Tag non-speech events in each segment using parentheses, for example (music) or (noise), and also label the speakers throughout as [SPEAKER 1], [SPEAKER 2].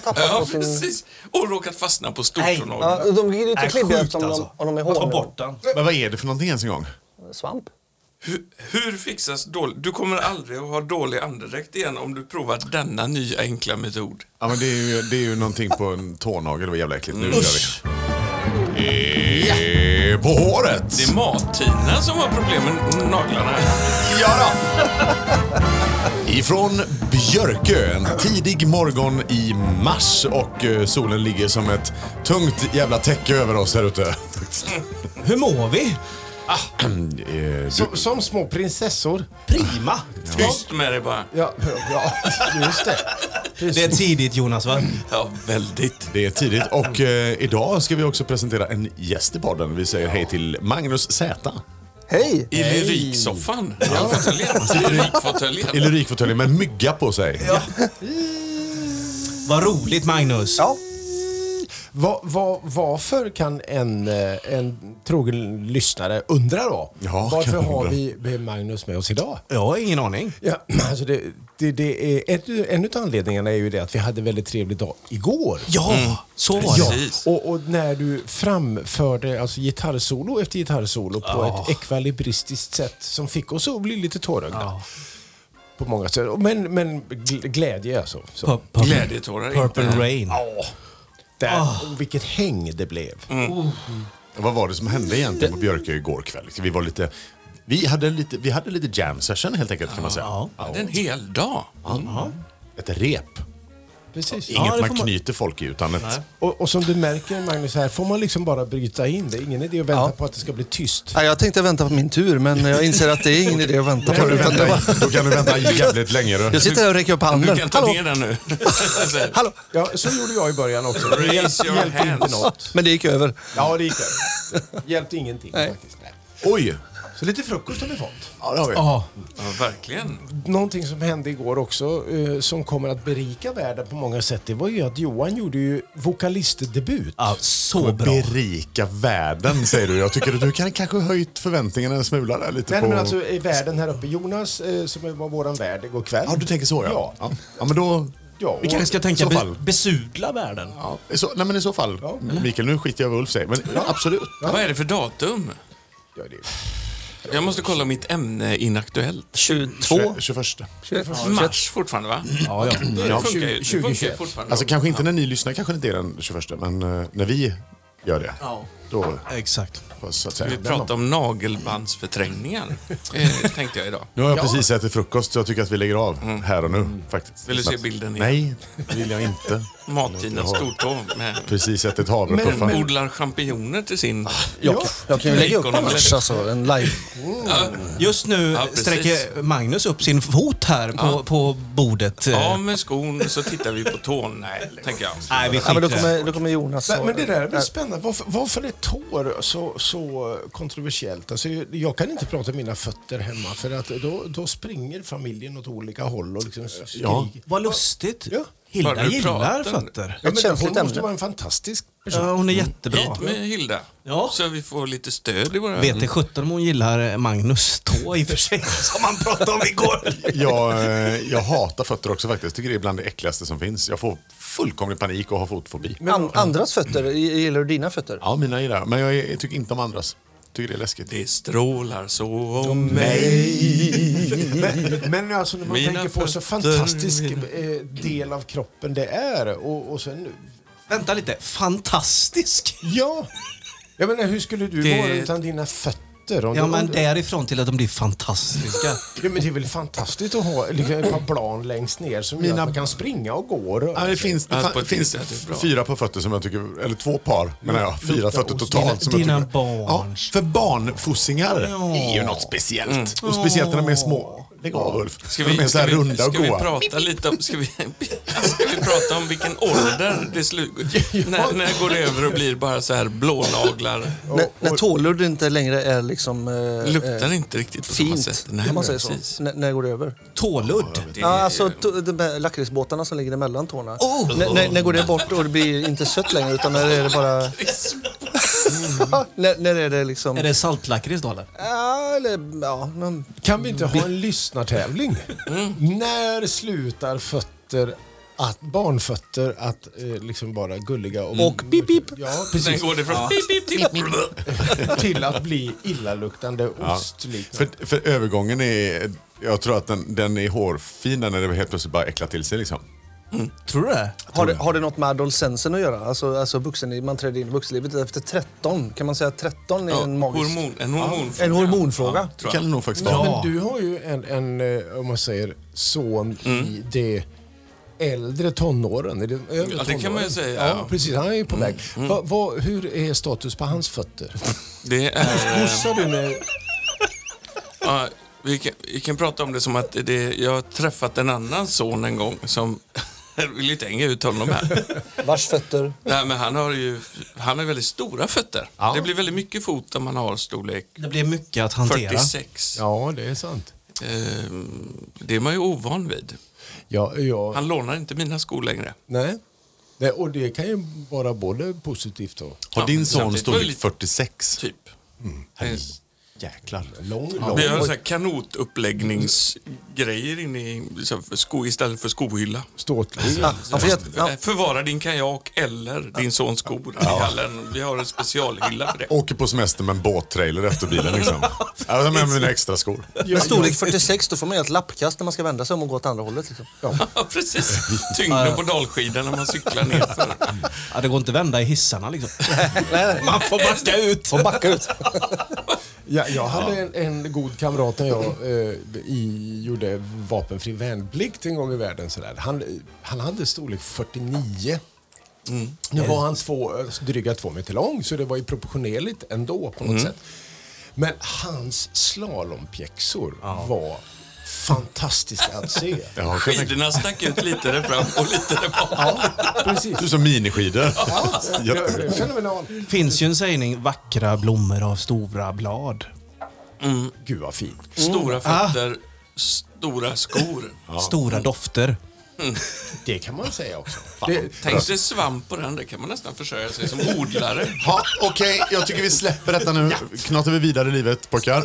[SPEAKER 1] tappat
[SPEAKER 2] Ja,
[SPEAKER 1] på sin...
[SPEAKER 2] precis. Och råkat fastna på stortånageln.
[SPEAKER 1] Ja, de blir lite
[SPEAKER 3] Nej,
[SPEAKER 1] klibbiga
[SPEAKER 3] sjukt
[SPEAKER 1] eftersom de,
[SPEAKER 3] alltså.
[SPEAKER 1] om de är
[SPEAKER 3] Ta
[SPEAKER 1] hårda.
[SPEAKER 3] bort den.
[SPEAKER 4] Men vad är det för någonting ens en gång?
[SPEAKER 1] Svamp.
[SPEAKER 2] Hur, hur fixas dålig... Du kommer aldrig att ha dålig andedräkt igen om du provar denna nya enkla metod.
[SPEAKER 4] Ja, men det är ju, det är ju någonting på en tånagel. Det var jävla äckligt. Nu kör vi. Eh, På håret!
[SPEAKER 2] Det är Martina som har problem med naglarna.
[SPEAKER 4] Ja då. (laughs) Ifrån Björkö, en tidig morgon i mars och eh, solen ligger som ett tungt jävla täcke över oss här ute.
[SPEAKER 3] Hur mår vi?
[SPEAKER 4] Eh,
[SPEAKER 5] Som, som små prinsessor.
[SPEAKER 3] Prima.
[SPEAKER 2] Tyst med dig bara.
[SPEAKER 5] Ja, ja just det.
[SPEAKER 3] Det är tidigt Jonas va?
[SPEAKER 2] Ja, väldigt.
[SPEAKER 4] Det är tidigt och eh, idag ska vi också presentera en gäst i podden. Vi säger hej till Magnus Z.
[SPEAKER 1] Hej!
[SPEAKER 2] I lyriksoffan. I fåtöljen.
[SPEAKER 4] I
[SPEAKER 2] Lyrikfåtöljen.
[SPEAKER 4] lyrikfåtöljen med mygga på sig.
[SPEAKER 3] Vad roligt Magnus.
[SPEAKER 1] Ja,
[SPEAKER 5] Va, va, varför kan en, eh, en trogen lyssnare undra då?
[SPEAKER 4] Ja,
[SPEAKER 5] varför
[SPEAKER 4] kan
[SPEAKER 5] har
[SPEAKER 4] undra.
[SPEAKER 5] vi vi Magnus med oss idag?
[SPEAKER 3] Jag har ingen aning.
[SPEAKER 5] Ja, (clears throat) alltså det, det, det är, ett- en av anledningarna är ju det att vi hade en väldigt trevlig dag igår.
[SPEAKER 3] Mm. Ja, så var
[SPEAKER 5] Ja,
[SPEAKER 3] det.
[SPEAKER 2] Precis.
[SPEAKER 5] och, och när du framförde alltså, gitarrsolo efter gitarrsolo på ett ekvilibristiskt sätt som fick oss att bli lite tårögda. På många sätt. Men, men gl- glädje alltså. Så.
[SPEAKER 3] Pu- pu-
[SPEAKER 2] Glädjetårar. är
[SPEAKER 3] Purple
[SPEAKER 2] inte-
[SPEAKER 3] Rain.
[SPEAKER 5] Där,
[SPEAKER 4] Ah.
[SPEAKER 5] och vilket häng det blev.
[SPEAKER 4] Mm. Vad var det som hände egentligen på Björkö igår kväll? Vi var lite... Vi hade lite, vi hade lite jam session helt enkelt kan man säga.
[SPEAKER 3] Ja.
[SPEAKER 2] Ja, Det är en hel dag.
[SPEAKER 4] Ett rep.
[SPEAKER 5] Precis.
[SPEAKER 3] det
[SPEAKER 4] Inget
[SPEAKER 3] får
[SPEAKER 4] man
[SPEAKER 3] man-
[SPEAKER 4] knyter folk i utan ett...
[SPEAKER 5] Och, och som du märker Magnus här får man liksom bara bryta in. Det är ingen idé att vänta på att det ska bli tyst.
[SPEAKER 1] Ja, jag tänkte vänta på min tur, men jag inser att det är ingen idé att vänta
[SPEAKER 4] Då
[SPEAKER 1] på
[SPEAKER 4] kan du
[SPEAKER 1] det. utan det
[SPEAKER 4] vänta,
[SPEAKER 1] var-
[SPEAKER 4] då kan du vänta jävligt länge. Då.
[SPEAKER 1] Jag sitter här och räcker upp
[SPEAKER 2] Du
[SPEAKER 1] handen.
[SPEAKER 2] kan ta
[SPEAKER 1] Hallå,
[SPEAKER 2] ner den nu. Så här.
[SPEAKER 1] hallå!
[SPEAKER 5] Ja, så gjorde jag i början också. Det
[SPEAKER 2] Raise your
[SPEAKER 5] hjälpte inte
[SPEAKER 2] hands.
[SPEAKER 5] något.
[SPEAKER 1] Men det gick över.
[SPEAKER 5] Ja, det gick väl. Hjälpte ingenting faktiskt. Nej.
[SPEAKER 4] Oj!
[SPEAKER 5] Så lite frukost har vi fått.
[SPEAKER 4] Ja, det har vi.
[SPEAKER 3] Ja.
[SPEAKER 2] Ja, verkligen.
[SPEAKER 5] Någonting som hände igår också eh, som kommer att berika världen på många sätt det var ju att Johan gjorde ju vokalistdebut.
[SPEAKER 1] Alltså
[SPEAKER 3] ja, så bra.
[SPEAKER 4] Berika världen säger du. Jag tycker att du kan kanske ha höjt förväntningarna en smula där lite
[SPEAKER 5] Nej,
[SPEAKER 4] på...
[SPEAKER 5] men alltså i världen här uppe. Jonas eh, som var våran värd igår kväll.
[SPEAKER 4] Ja, du tänker så ja.
[SPEAKER 5] Ja.
[SPEAKER 4] Ja, ja men då...
[SPEAKER 5] Ja,
[SPEAKER 3] Vi
[SPEAKER 5] och-
[SPEAKER 3] kanske ska tänka
[SPEAKER 4] så
[SPEAKER 3] be
[SPEAKER 4] fall.
[SPEAKER 3] besudla världen.
[SPEAKER 4] Ja, i så, nej men i så fall. Mikael, nu skiter jag i vad Ulf säger. Men absolut.
[SPEAKER 2] Vad är det för datum?
[SPEAKER 5] Ja, det-
[SPEAKER 2] Jag måste kolla mitt ämne inaktuellt.
[SPEAKER 1] 22,
[SPEAKER 4] 21.
[SPEAKER 1] 21.
[SPEAKER 2] Mars fortfarande va?
[SPEAKER 3] Ja, ja.
[SPEAKER 2] Det funkar ju. Det
[SPEAKER 5] 20,
[SPEAKER 2] funkar ju
[SPEAKER 5] 21.
[SPEAKER 2] fortfarande.
[SPEAKER 4] Alltså kanske inte när ni lyssnar, kanske det inte är den 21, men eh, när vi gör det. Då,
[SPEAKER 3] Exakt.
[SPEAKER 4] så att säga.
[SPEAKER 2] Vi pratar om nagelbandsförträngningar. eh, tänkte jag idag.
[SPEAKER 4] Nu har jag precis ätit frukost så jag tycker att vi lägger av här och nu faktiskt.
[SPEAKER 2] Mm. Vill du se
[SPEAKER 4] Men-
[SPEAKER 2] bilden igen?
[SPEAKER 4] Nej, det vill jag inte.
[SPEAKER 2] Martina stortå med
[SPEAKER 4] Precis ätit havrepuffar.
[SPEAKER 2] odlar champinjoner till sin...
[SPEAKER 1] Jag, jag kan ju lägga upp en
[SPEAKER 2] Likonomel.
[SPEAKER 1] match, alltså. En live.
[SPEAKER 3] Just nu
[SPEAKER 2] Ja, precis.
[SPEAKER 3] sträcker Magnus upp sin fot här på, på bordet.
[SPEAKER 2] Ja, med skon så tittar vi på tån. Nej, tänker jag.
[SPEAKER 3] eh. Nej, Ah, vi
[SPEAKER 1] Ja, men då
[SPEAKER 3] skiter i det.
[SPEAKER 1] kommer, då kommer Jonas.
[SPEAKER 5] Men,
[SPEAKER 1] och-
[SPEAKER 5] men det där blir spännande. Varför, varför är tår så, så kontroversiellt? Alltså, jag kan inte prata om mina fötter hemma för att då, då springer familjen åt olika håll och liksom skriker. Ja.
[SPEAKER 4] Ja.
[SPEAKER 3] Vad lustigt.
[SPEAKER 5] Ja.
[SPEAKER 2] Bara
[SPEAKER 3] Hilda
[SPEAKER 2] du
[SPEAKER 3] gillar
[SPEAKER 2] pratar.
[SPEAKER 3] fötter.
[SPEAKER 5] men
[SPEAKER 1] känsligt
[SPEAKER 5] hon måste
[SPEAKER 1] ämne.
[SPEAKER 5] vara en fantastisk person.
[SPEAKER 3] Ja, hon är jättebra.
[SPEAKER 2] Hit med Hilda.
[SPEAKER 3] Ja.
[SPEAKER 2] Så vi får lite stöd i våra...
[SPEAKER 3] Vet inte sjutton om hon gillar Magnus tå i och för sig, (laughs) som han pratade om igår.
[SPEAKER 4] Jag, eh, jag hatar fötter också faktiskt. Tycker det är bland det äckligaste som finns. Jag får fullkomlig panik och har fotfobi.
[SPEAKER 1] An, andras fötter, gillar du dina fötter?
[SPEAKER 4] Ja, mina gillar jag. Men jag, är- jag tycker inte om andras. Tycker det är läskigt.
[SPEAKER 2] Det strålar så om
[SPEAKER 5] Men, men alltså när man
[SPEAKER 2] Mina
[SPEAKER 5] tänker på så
[SPEAKER 2] fötter,
[SPEAKER 5] fantastisk
[SPEAKER 2] mina-
[SPEAKER 5] eh, del av kroppen det är och, och sen...
[SPEAKER 3] Vänta lite, fantastisk?
[SPEAKER 5] Ja! Jag menar hur skulle du
[SPEAKER 2] Det-
[SPEAKER 5] vara utan dina fötter? Om
[SPEAKER 3] Ja,
[SPEAKER 5] du, om
[SPEAKER 3] men
[SPEAKER 5] du-
[SPEAKER 3] därifrån till att de blir fantastiska.
[SPEAKER 5] Ja, men det är väl fantastiskt att ha liksom, ett par plan längst ner som gör
[SPEAKER 4] Mina-
[SPEAKER 5] att man kan springa och gå och röra
[SPEAKER 4] Ja, det finns, det
[SPEAKER 2] Ja, på
[SPEAKER 4] fa-
[SPEAKER 2] ett
[SPEAKER 4] finns
[SPEAKER 2] sätt är det bra.
[SPEAKER 4] fyra på fötter som jag tycker, eller två par menar jag, fyra fötter totalt. Som
[SPEAKER 3] Dina
[SPEAKER 4] jag tycker,
[SPEAKER 3] barn.
[SPEAKER 4] Ja, för barnfossingar är ju något speciellt. Och speciellt när de är små. Lägg av Ulf.
[SPEAKER 2] Mm. Ska
[SPEAKER 4] de är
[SPEAKER 2] vi,
[SPEAKER 4] så
[SPEAKER 2] ska
[SPEAKER 4] här
[SPEAKER 2] vi,
[SPEAKER 4] runda
[SPEAKER 2] ska
[SPEAKER 4] och
[SPEAKER 2] vi
[SPEAKER 4] goa.
[SPEAKER 2] prata lite om, ska vi, ska vi prata om vilken ålder det slutar? När, när går det över och blir bara så här blånaglar?
[SPEAKER 1] När, när tåludd inte längre är liksom... eh,
[SPEAKER 2] Luktar
[SPEAKER 1] eh,
[SPEAKER 2] inte riktigt på samma
[SPEAKER 1] Fint,
[SPEAKER 2] sätt.
[SPEAKER 1] om man säger så. N- när går det över?
[SPEAKER 3] Tåludd.
[SPEAKER 2] Det,
[SPEAKER 1] Ja, (laughs) alltså to- de här lakritsbåtarna som ligger emellan tårna.
[SPEAKER 3] Oh!
[SPEAKER 1] N- när- när går det bort och det blir inte sött längre utan när är det bara... (laughs) när, när är det liksom...
[SPEAKER 3] Är det saltlakrits då eller?
[SPEAKER 1] Ja, eller ja, men...
[SPEAKER 5] Kan vi inte ha en lyssnartävling? När slutar fötter att barnfötter att eh, liksom bara gulliga och...
[SPEAKER 1] Och pip, pip.
[SPEAKER 5] Ja,
[SPEAKER 2] Sen
[SPEAKER 5] precis.
[SPEAKER 2] går det från pip, pip till...
[SPEAKER 5] Till att bli illaluktande ost. Liksom.
[SPEAKER 4] För, för övergången är... Jag tror att den, den är hårfin när det helt plötsligt bara äcklar till sig liksom.
[SPEAKER 3] Tror du det?
[SPEAKER 1] Har det, har det något med adolescensen att göra? Alltså, alltså vuxen, man trädde in i vuxenlivet efter 13. Kan man säga att 13 är
[SPEAKER 2] Ja,
[SPEAKER 1] en magisk...
[SPEAKER 2] hormon, en hormon.
[SPEAKER 1] En hormonfråga.
[SPEAKER 4] Det kan det nog faktiskt vara.
[SPEAKER 5] Ja. Men du har ju en, en eh, om man säger, son i det äldre tonåren. i den övre
[SPEAKER 2] Ja, det kan
[SPEAKER 5] tonåren.
[SPEAKER 2] man ju säga,
[SPEAKER 5] Ja,
[SPEAKER 2] ja.
[SPEAKER 5] Precis, han är ju på väg. Va, va, hur är status på hans fötter?
[SPEAKER 2] Det är... eh,
[SPEAKER 5] Pussar du med...
[SPEAKER 2] Ja, vi, kan, vi kan prata om det som att det, jag har träffat en annan son en gång som... (laughs) Jag vill inte hänga ut honom här.
[SPEAKER 1] Vars fötter?
[SPEAKER 2] Nej, men han har ju han har väldigt stora fötter. Det blir väldigt mycket fot om man har storlek
[SPEAKER 3] Det blir mycket att hantera.
[SPEAKER 2] 46.
[SPEAKER 5] Ja, det är sant.
[SPEAKER 2] Ehm, det är man ju ovan vid.
[SPEAKER 5] Ja, ja,
[SPEAKER 2] Han lånar inte mina skor längre.
[SPEAKER 5] nej. nej. Och det kan ju vara både positivt och...
[SPEAKER 4] Har din
[SPEAKER 2] Ja,
[SPEAKER 4] son
[SPEAKER 2] samtidigt var det
[SPEAKER 4] storlek
[SPEAKER 2] lite-
[SPEAKER 4] 46?
[SPEAKER 2] Typ.
[SPEAKER 4] Jäklar.
[SPEAKER 5] Lång, lång.
[SPEAKER 2] Vi har så här kanotuppläggningsgrejer inne i, så här, för sko, istället för skohylla.
[SPEAKER 4] Alltså,
[SPEAKER 5] Ståtlig.
[SPEAKER 1] Ja, han får jätte- ja.
[SPEAKER 2] Eh, Förvara din kajak eller din sons skor i hallen. Vi har en specialhylla för det.
[SPEAKER 4] Åker på semester med en båttrailer efter bilen (laughs) liksom. Jag har med mina extra skor.
[SPEAKER 1] Med storlek 46 då får man göra ett lappkast när man ska vända sig om och gå åt andra hållet. Liksom.
[SPEAKER 2] Ja, precis. Tyngden på dalskidan när man cyklar nerför.
[SPEAKER 3] Ja, det går inte att vända i hissarna (laughs) liksom. Man får backa ut.
[SPEAKER 1] Får backa ut.
[SPEAKER 5] Ja, jag hade en, en god kamrat när jag eh, i, gjorde vapenfri värnplikt en gång i världen. Sådär. Han, han hade storlek 49. Nu var han två, dryga två meter lång, så det var ju proportionerligt ändå på något sätt. Men hans slalompjäxor var fantastiska att (laughs) se.
[SPEAKER 4] Ja,
[SPEAKER 2] Skidorna stack ut lite där fram och lite där bak.
[SPEAKER 5] ja, precis.
[SPEAKER 4] Du som miniskidor.
[SPEAKER 5] Ja, det är Fenomenal.
[SPEAKER 3] Finns ju en sägning, vackra blommor av stora blad.
[SPEAKER 5] Gud vad fint. Mm.
[SPEAKER 2] Stora
[SPEAKER 5] Ah.
[SPEAKER 2] fötter, stora skor.
[SPEAKER 3] Stora dofter.
[SPEAKER 5] Det kan man säga också. Det,
[SPEAKER 2] Tänk dig svamp på den, det kan man nästan försörja sig som odlare.
[SPEAKER 4] Ja, Okej, jag tycker vi släpper detta nu. Knatar vi vidare i livet pojkar.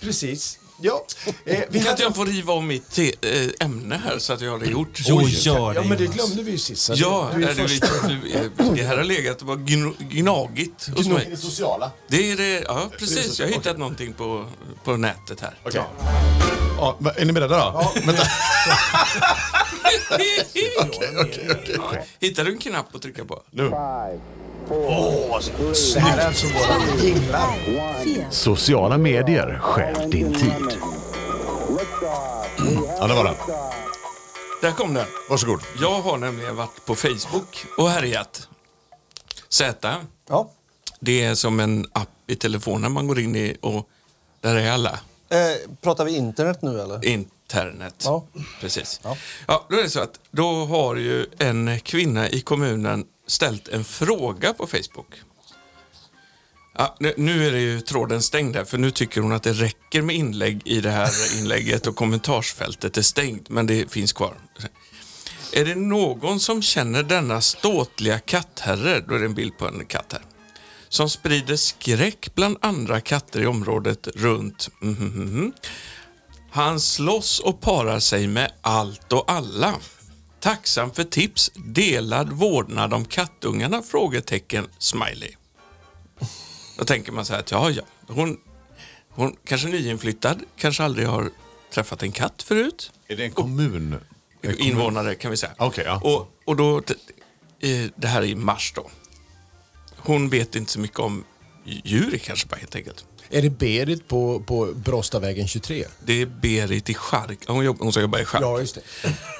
[SPEAKER 5] precis. Ja. Eh, vi
[SPEAKER 2] Kan
[SPEAKER 5] hade-
[SPEAKER 2] inte jag få riva om mitt te- eh, ämne här så att jag har det gjort?
[SPEAKER 3] Jo, gör det
[SPEAKER 5] Ja, men det
[SPEAKER 3] Jonas.
[SPEAKER 5] glömde vi ju sist. så
[SPEAKER 2] Ja,
[SPEAKER 5] du är
[SPEAKER 2] är det,
[SPEAKER 5] först.
[SPEAKER 2] vi- du- det här har legat och var gnagigt hos mig.
[SPEAKER 4] sociala.
[SPEAKER 2] Det är det, ja precis. Jag har hittat någonting på, på nätet här.
[SPEAKER 4] Ja, va- är ni beredda då? Vänta.
[SPEAKER 2] Hittar du en knapp att trycka på?
[SPEAKER 6] Sociala medier stjäl din tid.
[SPEAKER 4] Ja, det var den.
[SPEAKER 2] Där kom den.
[SPEAKER 4] Varsågod.
[SPEAKER 2] Jag har nämligen varit på Facebook och härjat. Z.
[SPEAKER 1] Ja.
[SPEAKER 2] Det är som en app i telefonen man går in i och där är alla.
[SPEAKER 1] Eh, pratar vi internet nu eller?
[SPEAKER 2] Internet.
[SPEAKER 1] Ja.
[SPEAKER 2] Precis. Ja. då är det så att då har ju en kvinna i kommunen ställt en fråga på Facebook. Ja, nu- nu är det ju tråden stängd här, för nu tycker hon att det räcker med inlägg i det här inlägget och kommentarsfältet är stängt, men det finns kvar. Är det någon som känner denna ståtliga kattherre, då är det en bild på en katt här, som sprider skräck bland andra katter i området runt mhm. Han slåss och parar sig med allt och alla. Tacksam för tips. Delad vårdnad om kattungarna? Frågetecken. Smiley. Då tänker man så här att ja, ja. Hon, hon kanske är nyinflyttad, kanske aldrig har träffat en katt förut.
[SPEAKER 4] Är det en kommun? En kommun?
[SPEAKER 2] Invånare kan vi säga.
[SPEAKER 4] Okej, ja.
[SPEAKER 2] och, och då, t- eh, det här är i mars då. Hon vet inte så mycket om djur kanske bara helt enkelt.
[SPEAKER 5] Är det Berit på, på Brostavägen 23?
[SPEAKER 2] Det är Berit i Chark. Hon, jobb, hon ska jobba i Chark.
[SPEAKER 5] Ja, just det.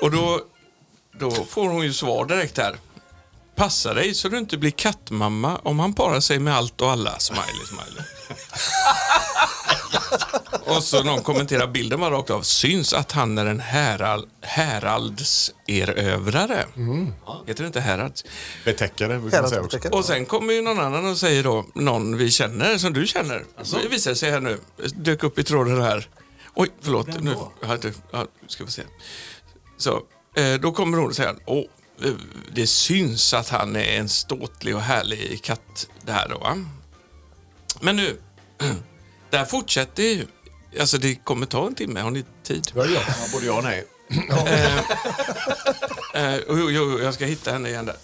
[SPEAKER 2] Och då, då får hon ju svar direkt här. Passa dig så du inte blir kattmamma om han parar sig med allt och alla. Smiley, smiley. och så någon kommenterar bilden var rakt av. Syns att han är en häral, häraldserövrare. Heter det inte härads?
[SPEAKER 4] Betäckare brukar man säga också.
[SPEAKER 2] Och sen kommer ju någon annan och säger då, någon vi känner, som du känner. Det visar sig här nu, dök upp i tråden här. Oj, förlåt. Nu, ja, du, ja, ska vi se. Så, eh, då kommer hon och säger, åh, eh, det syns att han är en ståtlig och härlig katt det här då. Va? Men nu, (clears throat) där fortsätter ju. Alltså det kommer ta en timme, har ni tid?
[SPEAKER 4] Ja, både ja och nej.
[SPEAKER 2] Eh, eh, jo, jo, jag ska hitta henne igen där.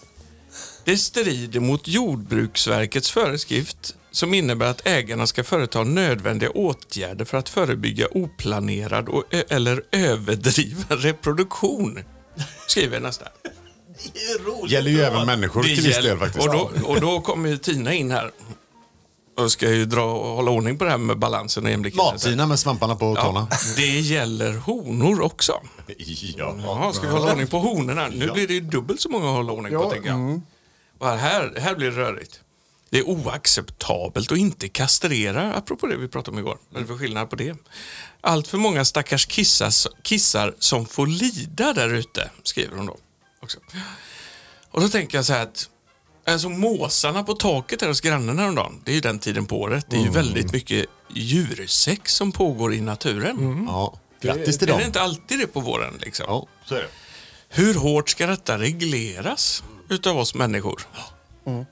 [SPEAKER 2] Det strider mot Jordbruksverkets föreskrift som innebär att ägarna ska företa nödvändiga åtgärder för att förebygga oplanerad och, ö- eller överdriven (laughs) reproduktion. Skriver nästa.
[SPEAKER 4] gäller ju även människor till viss del
[SPEAKER 2] gäller.
[SPEAKER 4] faktiskt.
[SPEAKER 2] Och då, och då kommer ju Tina in här. Och ska ju dra och hålla ordning på det här med balansen och jämlikheten.
[SPEAKER 4] Matina med svamparna på tårna.
[SPEAKER 2] Ja, det gäller honor också.
[SPEAKER 4] Ja.
[SPEAKER 2] Jaha, ska vi hålla ordning på honorna? Nu blir det ju dubbelt så många att hålla ordning på,
[SPEAKER 5] Ja,
[SPEAKER 2] tänker jag.
[SPEAKER 4] mm.
[SPEAKER 2] Och här, här blir det rörigt. Det är oacceptabelt att inte kastrera, apropå det vi pratade om igår. Vad är det för skillnad på det? Allt för många stackars kissas, kissar som får lida där ute, skriver hon då. Också. Och då tänker jag så här att alltså måsarna på taket här hos grannen häromdagen, det är ju den tiden på året. Det
[SPEAKER 4] Mm.
[SPEAKER 2] är ju väldigt mycket djursex som pågår i naturen.
[SPEAKER 4] Mm. Ja. Grattis till
[SPEAKER 2] Är
[SPEAKER 4] dem.
[SPEAKER 2] det inte alltid det på våren? Liksom?
[SPEAKER 4] Ja, så är det.
[SPEAKER 2] Hur hårt ska detta regleras utav oss människor?
[SPEAKER 4] Mm.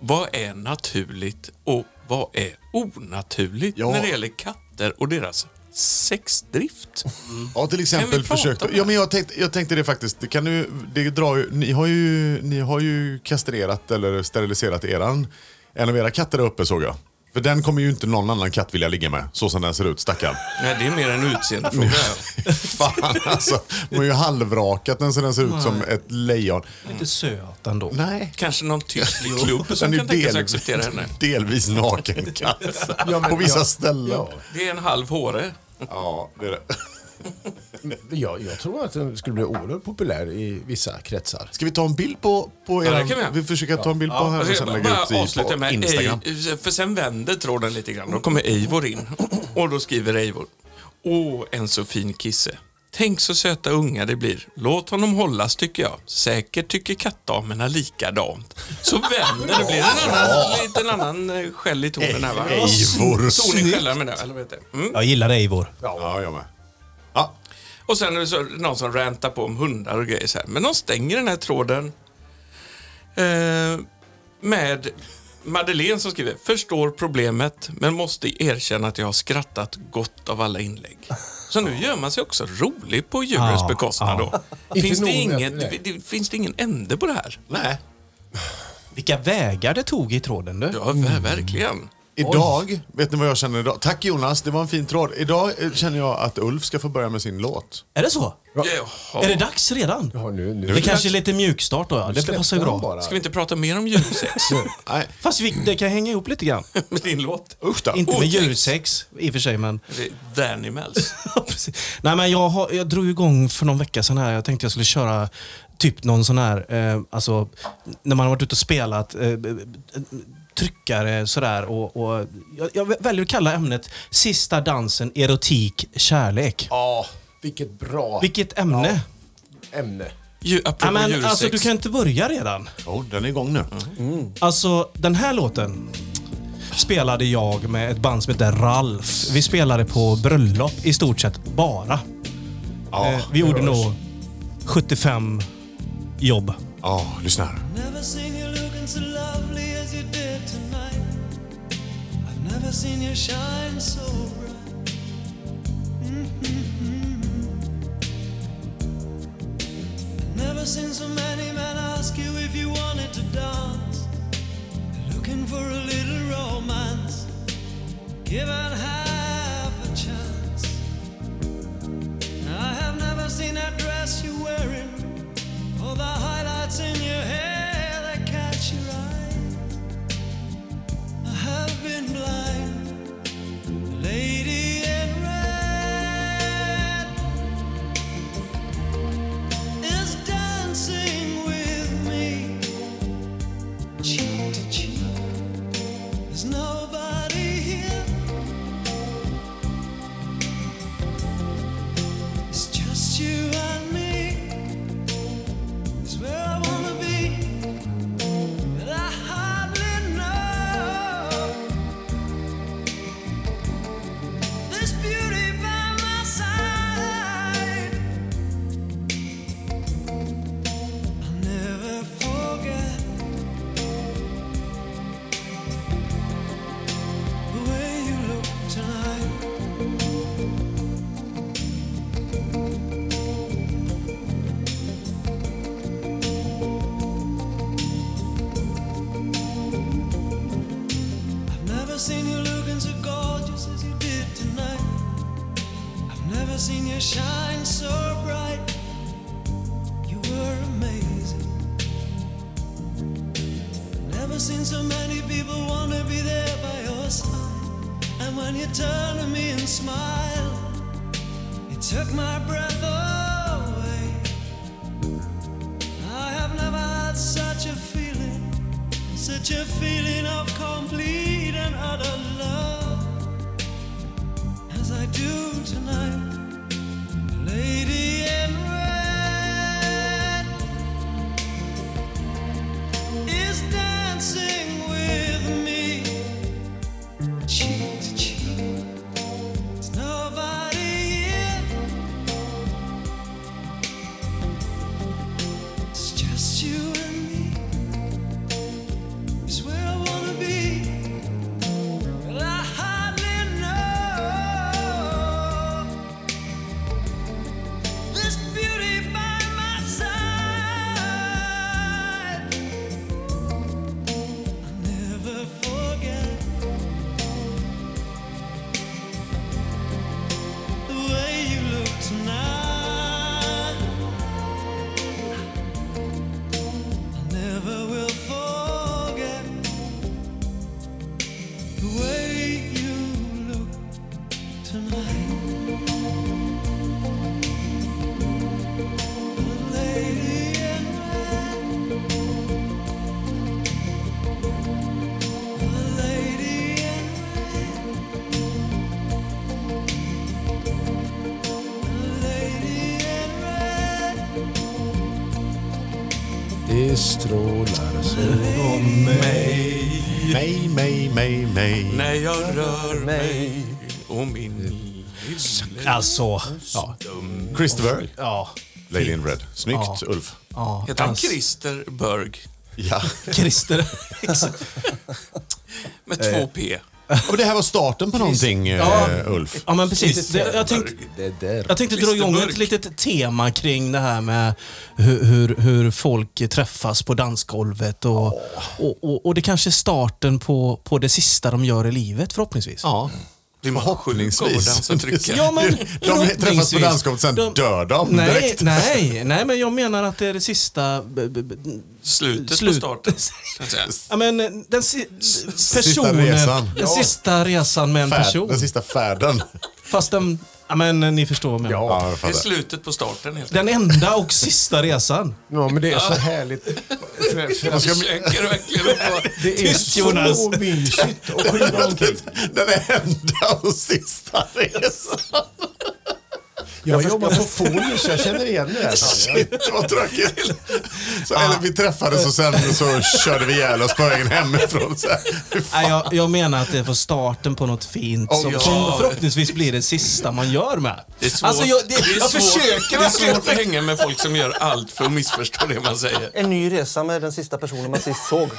[SPEAKER 2] Vad är naturligt och vad är onaturligt
[SPEAKER 4] Ja.
[SPEAKER 2] när det gäller katter och deras sexdrift?
[SPEAKER 4] Ja, till
[SPEAKER 2] Kan
[SPEAKER 4] exempel
[SPEAKER 2] vi prata
[SPEAKER 4] försökt...
[SPEAKER 2] om det?
[SPEAKER 4] Ja, men jag, tänkte, jag tänkte det faktiskt. Det kan ju, det drar ju, ni, har ju, ni har ju kastrerat eller steriliserat eran, en av era katter där uppe såg jag. För den kommer ju inte någon annan katt vilja ligga med, så som den ser
[SPEAKER 2] (laughs)
[SPEAKER 4] ut, stackarn.
[SPEAKER 2] Nej, det är mer en
[SPEAKER 4] (laughs)
[SPEAKER 2] utseendefråga.
[SPEAKER 4] Fan alltså, man har ju halvrakat den så den ser ut som ett lejon.
[SPEAKER 3] Lite söt ändå.
[SPEAKER 4] Nej.
[SPEAKER 2] Kanske någon
[SPEAKER 4] (laughs)
[SPEAKER 2] tysk klubb som
[SPEAKER 4] Den är
[SPEAKER 2] kan tänka sig
[SPEAKER 4] del-
[SPEAKER 2] acceptera henne. (laughs)
[SPEAKER 4] delvis naken katt. På vissa ställen. Ja.
[SPEAKER 2] Det är en halv håre.
[SPEAKER 4] det är det.
[SPEAKER 5] Jag, jag tror att den skulle bli oerhört populär i vissa kretsar.
[SPEAKER 4] Ska vi ta en bild på, på
[SPEAKER 2] Ja, det
[SPEAKER 4] eran?
[SPEAKER 2] kan vi göra.
[SPEAKER 4] vi försöker ta en bild på här och
[SPEAKER 2] Alltså,
[SPEAKER 4] sen
[SPEAKER 2] jag
[SPEAKER 4] lägga
[SPEAKER 2] bara
[SPEAKER 4] ut i,
[SPEAKER 2] avsluta
[SPEAKER 4] på
[SPEAKER 2] med
[SPEAKER 4] Instagram.
[SPEAKER 2] Ej- För sen vänder tråden lite grann. Då kommer Eivor in. Och då skriver Eivor. Åh, en så fin kisse. Tänk så söta unga det blir. Låt honom hållas tycker jag. Säkert tycker kattdamerna likadant. Så vänder det. blir en annan, lite en annan eh, skäll i tonen här va?
[SPEAKER 4] Eivor.
[SPEAKER 2] Ton i skällan menar jag. Eller vad heter det? Mm.
[SPEAKER 3] Jag gillar Eivor.
[SPEAKER 4] Ja, jag med. Ja,
[SPEAKER 2] Och sen är det så, någon som räntar på om hundar och grejer så här. Men de stänger den här tråden eh, med Madeleine som skriver Förstår problemet men måste erkänna att jag har skrattat gott av alla inlägg. Så nu gör man sig också rolig på djurens
[SPEAKER 3] Ja,
[SPEAKER 2] bekostnad då.
[SPEAKER 5] Inte
[SPEAKER 2] Finns det,
[SPEAKER 5] nog med-
[SPEAKER 2] ingen,
[SPEAKER 5] nej.
[SPEAKER 2] det, finns det ingen ände på det här?
[SPEAKER 4] nej.
[SPEAKER 3] Vilka vägar det tog i tråden du.
[SPEAKER 2] Ja, ver- verkligen.
[SPEAKER 4] Idag, vet ni vad jag känner idag? Tack Jonas, det var en fin tråd. Idag eh, känner jag att Ulf ska få börja med sin låt.
[SPEAKER 3] Är det så?
[SPEAKER 2] Jaha.
[SPEAKER 3] Är det dags redan?
[SPEAKER 5] Ja, nu, nu.
[SPEAKER 3] Det kanske är lite mjukstart då. Ja. Det passar
[SPEAKER 5] Släpp den
[SPEAKER 3] bra.
[SPEAKER 5] bara.
[SPEAKER 2] Ska vi inte prata mer om
[SPEAKER 3] (laughs)
[SPEAKER 2] djursex?
[SPEAKER 4] Nej,
[SPEAKER 3] Fast vi, det kan hänga ihop lite grann.
[SPEAKER 2] med din låt?
[SPEAKER 4] usch då.
[SPEAKER 3] Inte med
[SPEAKER 2] Otäckt.
[SPEAKER 3] djursex i och för sig, men... (laughs)
[SPEAKER 2] Det är Danny Mels.
[SPEAKER 3] Ja, precis. Nej, men jag, har, jag drog igång för någon vecka sedan här. Jag tänkte jag skulle köra typ någon sån här, eh, alltså när man har varit ute och spelat, eh, b- b- tryckare sådär och, och jag, jag väljer att kalla ämnet Sista dansen, erotik, kärlek.
[SPEAKER 5] Ja, vilket bra
[SPEAKER 3] Vilket ämne?
[SPEAKER 5] ämne.
[SPEAKER 2] Djur-
[SPEAKER 3] Ja,
[SPEAKER 2] Apropå
[SPEAKER 3] men,
[SPEAKER 2] djursex.
[SPEAKER 3] alltså, du kan inte börja redan.
[SPEAKER 4] Jo, den är igång nu.
[SPEAKER 3] Alltså, den här låten spelade jag med ett band som heter Ralf. Vi spelade på bröllop i stort sett bara. Eh, vi gjorde nog 75 jobb.
[SPEAKER 4] Ja, lyssna här.
[SPEAKER 7] Never seen you looking so lovely as you did tonight. I've never seen you shine so bright. Mm-hmm. I've never seen so many men ask you if you wanted to dance. They're looking for a little romance. Give it half a chance. I have never seen that dress you're wearing. All the highlights in your hair that catch your eye. I have been blind, The lady in red is dancing with me, cheek to cheek. There's nobody here shine so bright. You were amazing. Never seen so many people wanna be there by your side. And when you turn to me and smile, it took my breath away. I have never had such a feeling, such a feeling of complete and utter love as I do tonight. Lady in red is dancing with me, cheek to cheek. There's nobody here. It's just you and me. It's where I wanna be. Well, I hardly know this beauty by my side. I'll never forget the way you look tonight. I never will forget the way you look tonight. Lady in red. Lady in red. Lady in red.
[SPEAKER 5] Det strålar så
[SPEAKER 2] Om mig
[SPEAKER 4] Mig, mig, mig, mig.
[SPEAKER 2] när jag rör mig och min lille...
[SPEAKER 3] Alltså,
[SPEAKER 4] Christopher,
[SPEAKER 3] ja.
[SPEAKER 4] Lady in Red. Snyggt, Ulf.
[SPEAKER 3] ja
[SPEAKER 2] Heter han
[SPEAKER 3] alltså,
[SPEAKER 2] Christer Berg?
[SPEAKER 4] Ja.
[SPEAKER 3] Christer.
[SPEAKER 2] Med
[SPEAKER 3] Eh,
[SPEAKER 2] två P.
[SPEAKER 4] Ja, men det här var starten på någonting, eh, Ulf.
[SPEAKER 3] (laughs) Ja, men precis. Det, jag tänkte,
[SPEAKER 5] Det där.
[SPEAKER 3] jag tänkte dra igång
[SPEAKER 2] Christer
[SPEAKER 3] ett
[SPEAKER 2] Burk.
[SPEAKER 3] litet tema kring det här med hur, hur, hur folk träffas på dansgolvet. Och, och, och, och det kanske är starten på, på det sista de gör i livet förhoppningsvis.
[SPEAKER 4] Ja.
[SPEAKER 2] Blir man sjuk av att
[SPEAKER 4] Förhoppningsvis.
[SPEAKER 2] dansa och trycka?
[SPEAKER 3] (laughs) Ja, men
[SPEAKER 4] de träffas på
[SPEAKER 3] förhoppningsvis.
[SPEAKER 4] dansgolvet, sen
[SPEAKER 3] De-
[SPEAKER 4] dör de
[SPEAKER 3] Nej,
[SPEAKER 4] direkt.
[SPEAKER 3] nej, nej, men jag menar att det är det sista... b- b- b-
[SPEAKER 2] Slutet
[SPEAKER 3] Slut.
[SPEAKER 2] på starten. så att säga.
[SPEAKER 3] Ja, men eh, den si personen,
[SPEAKER 4] resan.
[SPEAKER 3] Den
[SPEAKER 4] Ja.
[SPEAKER 3] sista resan med en
[SPEAKER 4] Färd, (laughs)
[SPEAKER 3] person.
[SPEAKER 4] den sista färden.
[SPEAKER 3] Fast den... Ja, men eh, ni förstår mig.
[SPEAKER 4] Ja, jag
[SPEAKER 2] Det är
[SPEAKER 4] fattar.
[SPEAKER 2] slutet på starten helt enkelt.
[SPEAKER 3] Den enda och sista resan.
[SPEAKER 5] Ja, men det är så härligt. För, för
[SPEAKER 2] Jag
[SPEAKER 5] att
[SPEAKER 2] försöker verkligen att
[SPEAKER 5] det är
[SPEAKER 3] Tyst, Jonas.
[SPEAKER 5] så mysigt att skynda omkring.
[SPEAKER 4] Den enda och sista resan.
[SPEAKER 5] Jag jobbar på Folius, jag känner igen det där.
[SPEAKER 4] Shit, vad tråkigt. Så, eller, vi träffades och sen så körde vi ihjäl oss på vägen hemifrån. Så här. Fy fan.
[SPEAKER 3] Nej, jag, jag menar att det var starten på något fint
[SPEAKER 4] Oh,
[SPEAKER 3] som,
[SPEAKER 4] ja.
[SPEAKER 3] som förhoppningsvis blir det sista man gör med.
[SPEAKER 2] Det är svårt.
[SPEAKER 3] Alltså, jag, det,
[SPEAKER 2] Det är
[SPEAKER 3] jag
[SPEAKER 2] svårt-
[SPEAKER 3] försöker
[SPEAKER 2] Det är
[SPEAKER 3] verkligen.
[SPEAKER 2] svårt att hänga med folk som gör allt för att missförstå det man säger.
[SPEAKER 8] En ny resa med den sista personen man sist såg.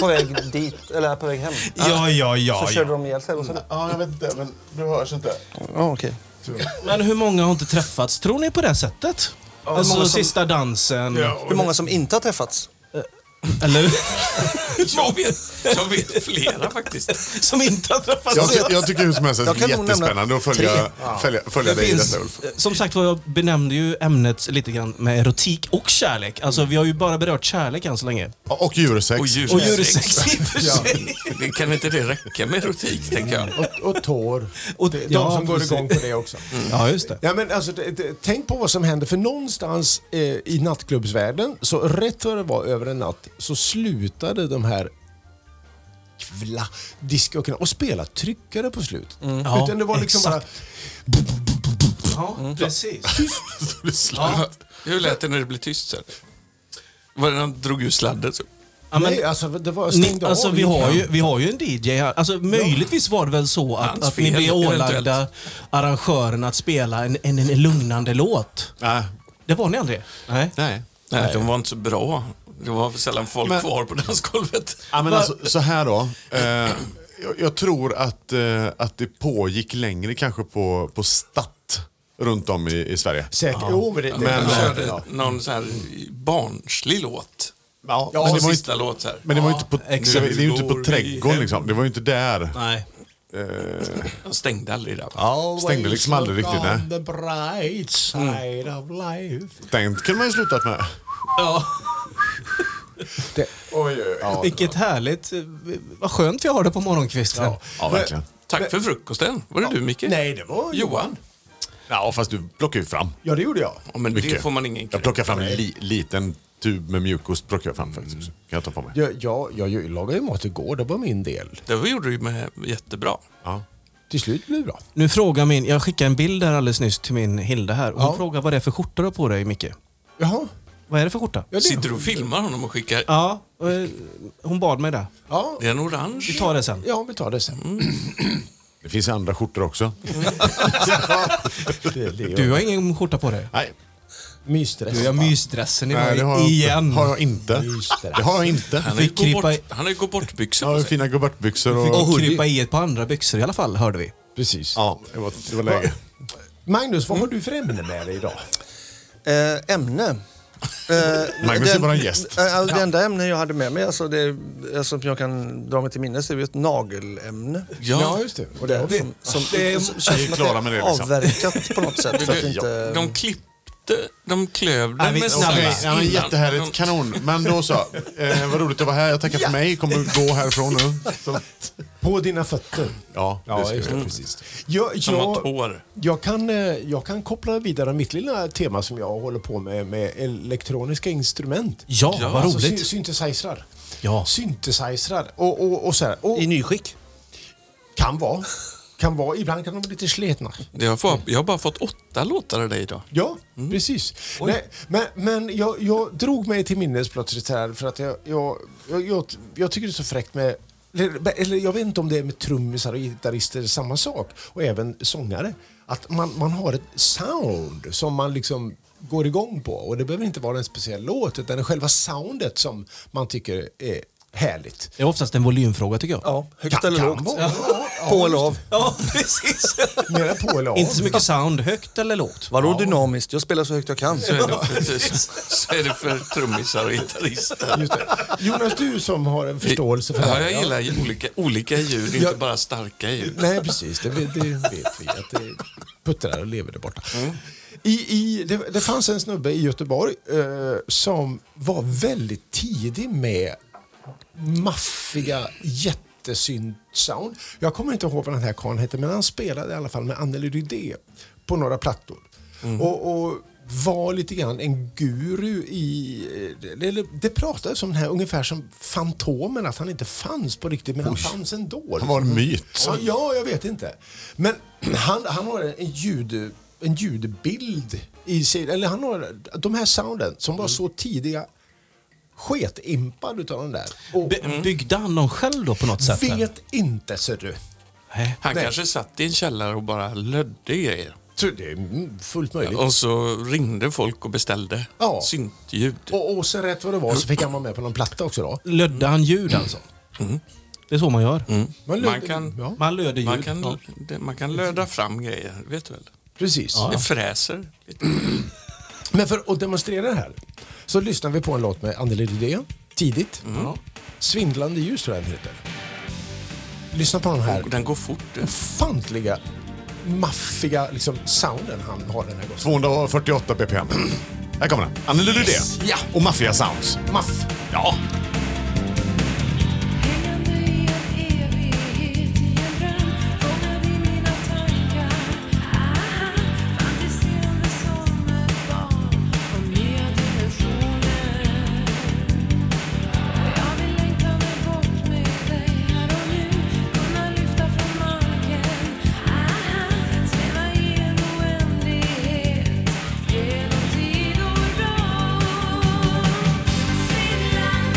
[SPEAKER 8] På väg dit, eller på väg hem.
[SPEAKER 3] Ja, ja, ja.
[SPEAKER 8] Så
[SPEAKER 3] ja.
[SPEAKER 8] körde de ihjäl sig. och så-
[SPEAKER 4] Ja, jag vet inte, men du hörs inte.
[SPEAKER 1] Ja, okej.
[SPEAKER 3] Men hur många har inte träffats, tror ni, på det sättet? alltså
[SPEAKER 1] många som-
[SPEAKER 3] sista dansen,
[SPEAKER 1] Hur många som inte har träffats?
[SPEAKER 3] eller (laughs)
[SPEAKER 2] Jag vet, jag vet flera faktiskt.
[SPEAKER 3] som inte har träffats.
[SPEAKER 4] Jag, ty- jag tycker hur som helst att
[SPEAKER 1] Jag
[SPEAKER 4] det är
[SPEAKER 1] kan nog
[SPEAKER 4] jättespännande
[SPEAKER 1] nämna
[SPEAKER 4] att följa,
[SPEAKER 1] tre.
[SPEAKER 4] följa, följa
[SPEAKER 3] Det
[SPEAKER 4] dig i
[SPEAKER 3] finns,
[SPEAKER 4] detta, Ulf.
[SPEAKER 3] eh, som sagt var, jag benämnde ju ämnet lite grann med erotik och kärlek. Alltså, vi har ju bara berört kärlek än så länge.
[SPEAKER 4] Och djursex.
[SPEAKER 2] Och
[SPEAKER 3] Och
[SPEAKER 2] djursex.
[SPEAKER 3] djursex i och för sig.
[SPEAKER 2] Det kan inte det räcka med erotik, tänker jag.
[SPEAKER 5] Och, och tår.
[SPEAKER 3] Och-
[SPEAKER 5] Och Mm. de
[SPEAKER 3] ja,
[SPEAKER 5] som
[SPEAKER 3] precis.
[SPEAKER 5] går igång på det också.
[SPEAKER 3] Ja, just det.
[SPEAKER 5] Ja, men alltså, det- det- tänk på vad som händer, för någonstans eh, i nattklubbsvärlden, så rätt vad det var över en natt, så slutade de här kvla diskjockeyerna och spela tryckare på slut.
[SPEAKER 3] Ja,
[SPEAKER 5] Utan det var liksom
[SPEAKER 3] exakt.
[SPEAKER 5] bara...
[SPEAKER 3] Ja, precis.
[SPEAKER 2] Hur lät det när det blev tyst sen? Var det när han drog ur sladden? Så?
[SPEAKER 3] Ja, men,
[SPEAKER 5] nej, alltså, det var,
[SPEAKER 3] Ni,
[SPEAKER 5] stängde
[SPEAKER 3] alltså,
[SPEAKER 5] av.
[SPEAKER 3] vi, har
[SPEAKER 5] gick
[SPEAKER 3] ju,
[SPEAKER 5] hem.
[SPEAKER 3] vi har ju en DJ här. Alltså, möjligtvis var det väl så att,
[SPEAKER 2] Hans
[SPEAKER 3] att ni
[SPEAKER 2] fel,
[SPEAKER 3] blev ålagda
[SPEAKER 2] eventuellt.
[SPEAKER 3] arrangören att spela en, en, en lugnande låt.
[SPEAKER 4] Nej.
[SPEAKER 3] Det var ni aldrig? Nej.
[SPEAKER 4] Nej.
[SPEAKER 2] Nej, de var inte så bra. Det var sällan folk
[SPEAKER 4] Men-
[SPEAKER 2] kvar på dansgolvet.
[SPEAKER 4] Ja, men alltså, så här då. Eh, jag, jag tror att, eh, att det pågick längre kanske på, på Statt runt om i, i Sverige.
[SPEAKER 5] Säkert. Jo, men det, det,
[SPEAKER 2] Men de
[SPEAKER 4] ja.
[SPEAKER 2] körde någon så här barnslig låt.
[SPEAKER 4] Ja,
[SPEAKER 2] Ja,
[SPEAKER 4] men det var ju
[SPEAKER 2] sista
[SPEAKER 4] inte,
[SPEAKER 2] låt så här.
[SPEAKER 4] men det var ju inte på,
[SPEAKER 3] exakt.
[SPEAKER 4] det är ju inte
[SPEAKER 2] Går
[SPEAKER 4] på
[SPEAKER 2] vi
[SPEAKER 4] trädgården
[SPEAKER 2] hem?
[SPEAKER 4] liksom. Det var ju inte där.
[SPEAKER 3] Nej.
[SPEAKER 4] Eh,
[SPEAKER 2] Han stängde aldrig där. va?
[SPEAKER 4] Stängde liksom aldrig
[SPEAKER 5] look
[SPEAKER 4] riktigt,
[SPEAKER 5] on the bright side of life.
[SPEAKER 4] den kunde man ju slutat med.
[SPEAKER 3] Ja.
[SPEAKER 4] Oj, oj, oj. Ja,
[SPEAKER 3] Vilket härligt. eh, Vad skönt vi har det på morgonkvisten.
[SPEAKER 4] ja, verkligen.
[SPEAKER 2] Tack för frukosten. Var det du Micke?
[SPEAKER 5] Nej, det var
[SPEAKER 2] Johan?
[SPEAKER 4] Ja, fast du plockar ju fram.
[SPEAKER 5] Ja, det gjorde jag.
[SPEAKER 2] Ja, men det
[SPEAKER 4] Mycket.
[SPEAKER 2] får man ingen
[SPEAKER 4] Jag
[SPEAKER 2] kredit
[SPEAKER 4] plockar fram en li, liten tub med mjukost. Plockar jag fram faktiskt. Kan jag ta på mig?
[SPEAKER 5] Jag, jag, jag, jag lagade ju mat igår, det var min del.
[SPEAKER 2] Det gjorde du ju med jättebra.
[SPEAKER 4] Ja.
[SPEAKER 5] Till slut blev det bra.
[SPEAKER 3] Nu frågar min, jag skickade en bild här alldeles nyss till min Hilda här. Hon frågar vad det är för skjorta du har på dig Micke.
[SPEAKER 5] Jaha.
[SPEAKER 3] Vad är det för skjorta?
[SPEAKER 5] Ja, det,
[SPEAKER 2] Sitter du och filmar honom och skickar?
[SPEAKER 3] Ja, eh, hon bad mig det.
[SPEAKER 5] Ja,
[SPEAKER 2] Det är en
[SPEAKER 3] Vi
[SPEAKER 2] orange.
[SPEAKER 3] tar det sen.
[SPEAKER 5] ja, vi tar det sen.
[SPEAKER 4] Det finns ju andra skjortor också.
[SPEAKER 5] Det, det,
[SPEAKER 3] Du har ingen skjorta på dig.
[SPEAKER 4] Nej,
[SPEAKER 5] Mysdress.
[SPEAKER 3] Du har mysdressen i
[SPEAKER 4] nej det har
[SPEAKER 3] mig
[SPEAKER 4] jag,
[SPEAKER 3] igen.
[SPEAKER 4] har jag inte.
[SPEAKER 5] Just det.
[SPEAKER 4] Det har jag inte.
[SPEAKER 2] Han har ju
[SPEAKER 3] Fick
[SPEAKER 2] gå
[SPEAKER 3] krypa i-
[SPEAKER 2] bort- han har ju gått bort byxor
[SPEAKER 4] Jag har
[SPEAKER 2] på
[SPEAKER 4] ju
[SPEAKER 2] sig.
[SPEAKER 4] fina gubbartbyxor
[SPEAKER 3] Och
[SPEAKER 4] och...
[SPEAKER 3] krypa i ett par andra byxor i alla fall, hörde vi.
[SPEAKER 5] Precis.
[SPEAKER 4] Ja, det var, det var läge.
[SPEAKER 5] Magnus, vad har du för ämne med dig idag?
[SPEAKER 1] Eh, ämne. Eh,
[SPEAKER 4] (laughs) Magnus är
[SPEAKER 1] den-
[SPEAKER 4] våran gäst.
[SPEAKER 1] eh, alltså, Det enda ämne jag hade med mig, alltså det, alltså, som jag kan dra mig till minnes, det är ju ett nagelämne.
[SPEAKER 2] Ja,
[SPEAKER 5] just det. Och det,
[SPEAKER 1] Det, som, som,
[SPEAKER 3] det-
[SPEAKER 1] som känns
[SPEAKER 4] vi är
[SPEAKER 1] som att
[SPEAKER 4] klara med det, liksom.
[SPEAKER 1] avverkat på något sätt.
[SPEAKER 4] (laughs)
[SPEAKER 1] Så att det inte,
[SPEAKER 2] de klippte, de klöv
[SPEAKER 3] Nej,
[SPEAKER 2] den
[SPEAKER 3] vi-
[SPEAKER 2] med
[SPEAKER 3] Snabba.
[SPEAKER 4] Okej, ja, men
[SPEAKER 2] innan.
[SPEAKER 4] jättehärligt.
[SPEAKER 2] De-
[SPEAKER 4] Kanon. Men då så. Eh, vad roligt att vara här. Jag tackar för mig. Kommer gå härifrån nu. Så.
[SPEAKER 5] På dina fötter.
[SPEAKER 4] Ja, det ska jag.
[SPEAKER 5] precis. Jag,
[SPEAKER 2] De har
[SPEAKER 5] jag,
[SPEAKER 2] tår.
[SPEAKER 5] jag, kan, eh, jag kan koppla vidare mitt lilla tema som jag håller på med, med elektroniska instrument.
[SPEAKER 3] Ja,
[SPEAKER 2] Ja,
[SPEAKER 3] vad
[SPEAKER 5] Alltså sy-
[SPEAKER 3] roligt.
[SPEAKER 5] synthesizrar.
[SPEAKER 3] Ja.
[SPEAKER 5] Synthesizrar. Och, och, och så här. Och
[SPEAKER 1] I nyskick.
[SPEAKER 5] kan vara. Kan vara. Ibland kan de bli lite sletna.
[SPEAKER 2] Jag har, fått, jag har bara fått åtta låtar av dig idag.
[SPEAKER 5] Ja,
[SPEAKER 2] Mm.
[SPEAKER 5] precis. Nej, men men jag, jag drog mig till minnes plötsligt här för att jag, jag, jag, jag, jag tycker det är så fräckt med eller, eller jag vet inte om det är med trummisar och gitarrister samma sak och även sångare. Att man, man har ett sound som man liksom går igång på och det behöver inte vara en speciell låt utan det är själva soundet som man tycker är härligt.
[SPEAKER 3] Det är oftast en volymfråga tycker jag.
[SPEAKER 1] Ja, högt
[SPEAKER 5] Kan-
[SPEAKER 1] eller
[SPEAKER 5] kan
[SPEAKER 1] lågt.
[SPEAKER 5] vara.
[SPEAKER 1] På eller av.
[SPEAKER 3] Ja, precis.
[SPEAKER 5] Mera
[SPEAKER 2] (laughs)
[SPEAKER 5] på eller av.
[SPEAKER 3] Inte så mycket sound, högt eller lågt.
[SPEAKER 1] Vadå dynamiskt? Jag spelar så högt jag kan.
[SPEAKER 2] Så är det, precis. Så är det för trummisar och gitarrister.
[SPEAKER 5] Just det. Jonas, du som har en förståelse för det
[SPEAKER 2] Ja,
[SPEAKER 5] här.
[SPEAKER 2] jag gillar ju olika, olika ljud, inte bara starka ljud.
[SPEAKER 5] Nej, precis. Det, vet- det vet vi. Att det puttrar och lever där borta. I, i, det, det fanns en snubbe i Göteborg eh, som var väldigt tidig med maffiga jättesynt-sound. Jag kommer inte ihåg vad den här karln hette, men han spelade i alla fall med Anneli Rydé på några plattor.
[SPEAKER 4] Mm.
[SPEAKER 5] Och, och var lite grann en guru i... eh, Eller, det pratades om den här ungefär som Fantomen, att han inte fanns på riktigt, men han fanns ändå. liksom.
[SPEAKER 4] Han var en myt.
[SPEAKER 5] Ja, ja, jag vet inte. Men (clears throat) han, han har en ljud, en ljudbild i sig. Eller han har de här sounden som
[SPEAKER 4] Mm.
[SPEAKER 5] var så tidiga. Sketimpad utav den där. Och
[SPEAKER 4] Mm.
[SPEAKER 3] By- byggde han dem själv då på något sätt? eller?
[SPEAKER 5] vet inte, ser du.
[SPEAKER 3] Nej.
[SPEAKER 2] Han kanske satt i en källare och bara lödde grejer.
[SPEAKER 5] Så det är mm, fullt möjligt.
[SPEAKER 2] Och så ringde folk och beställde
[SPEAKER 5] Ja.
[SPEAKER 2] syntljud.
[SPEAKER 5] Och, och sen rätt vad det var så fick han vara med på någon platta också då.
[SPEAKER 3] Lödde han ljud alltså? Det är så man gör.
[SPEAKER 5] Man,
[SPEAKER 2] Man kan-
[SPEAKER 5] Ja,
[SPEAKER 3] Man löder ljud.
[SPEAKER 2] Mm. Man kan, det- man kan löda fram grejer, vet du väl?
[SPEAKER 5] precis.
[SPEAKER 2] Det fräser lite.
[SPEAKER 5] Men för att demonstrera det här så lyssnar vi på en låt med Anneli Rydé tidigt. Svindlande ljus tror jag den heter. Lyssna på den här.
[SPEAKER 2] Och den går fort.
[SPEAKER 5] ofantliga maffiga liksom, sounden han har den här gången.
[SPEAKER 4] 248 bpm. Här kommer den. Anneli Rydé.
[SPEAKER 5] Ja.
[SPEAKER 4] Och Mafia Sounds.
[SPEAKER 5] Maff.
[SPEAKER 4] Ja.
[SPEAKER 9] Hängande i en evighet i en dröm fångad i mina tankar Aha, fantiserande som ett barn om nya dimensioner Och jag vill längta mig bort med dig här och nu kunna lyfta från marken Aha, sväva i en oändlighet genom tid och rum Svindlande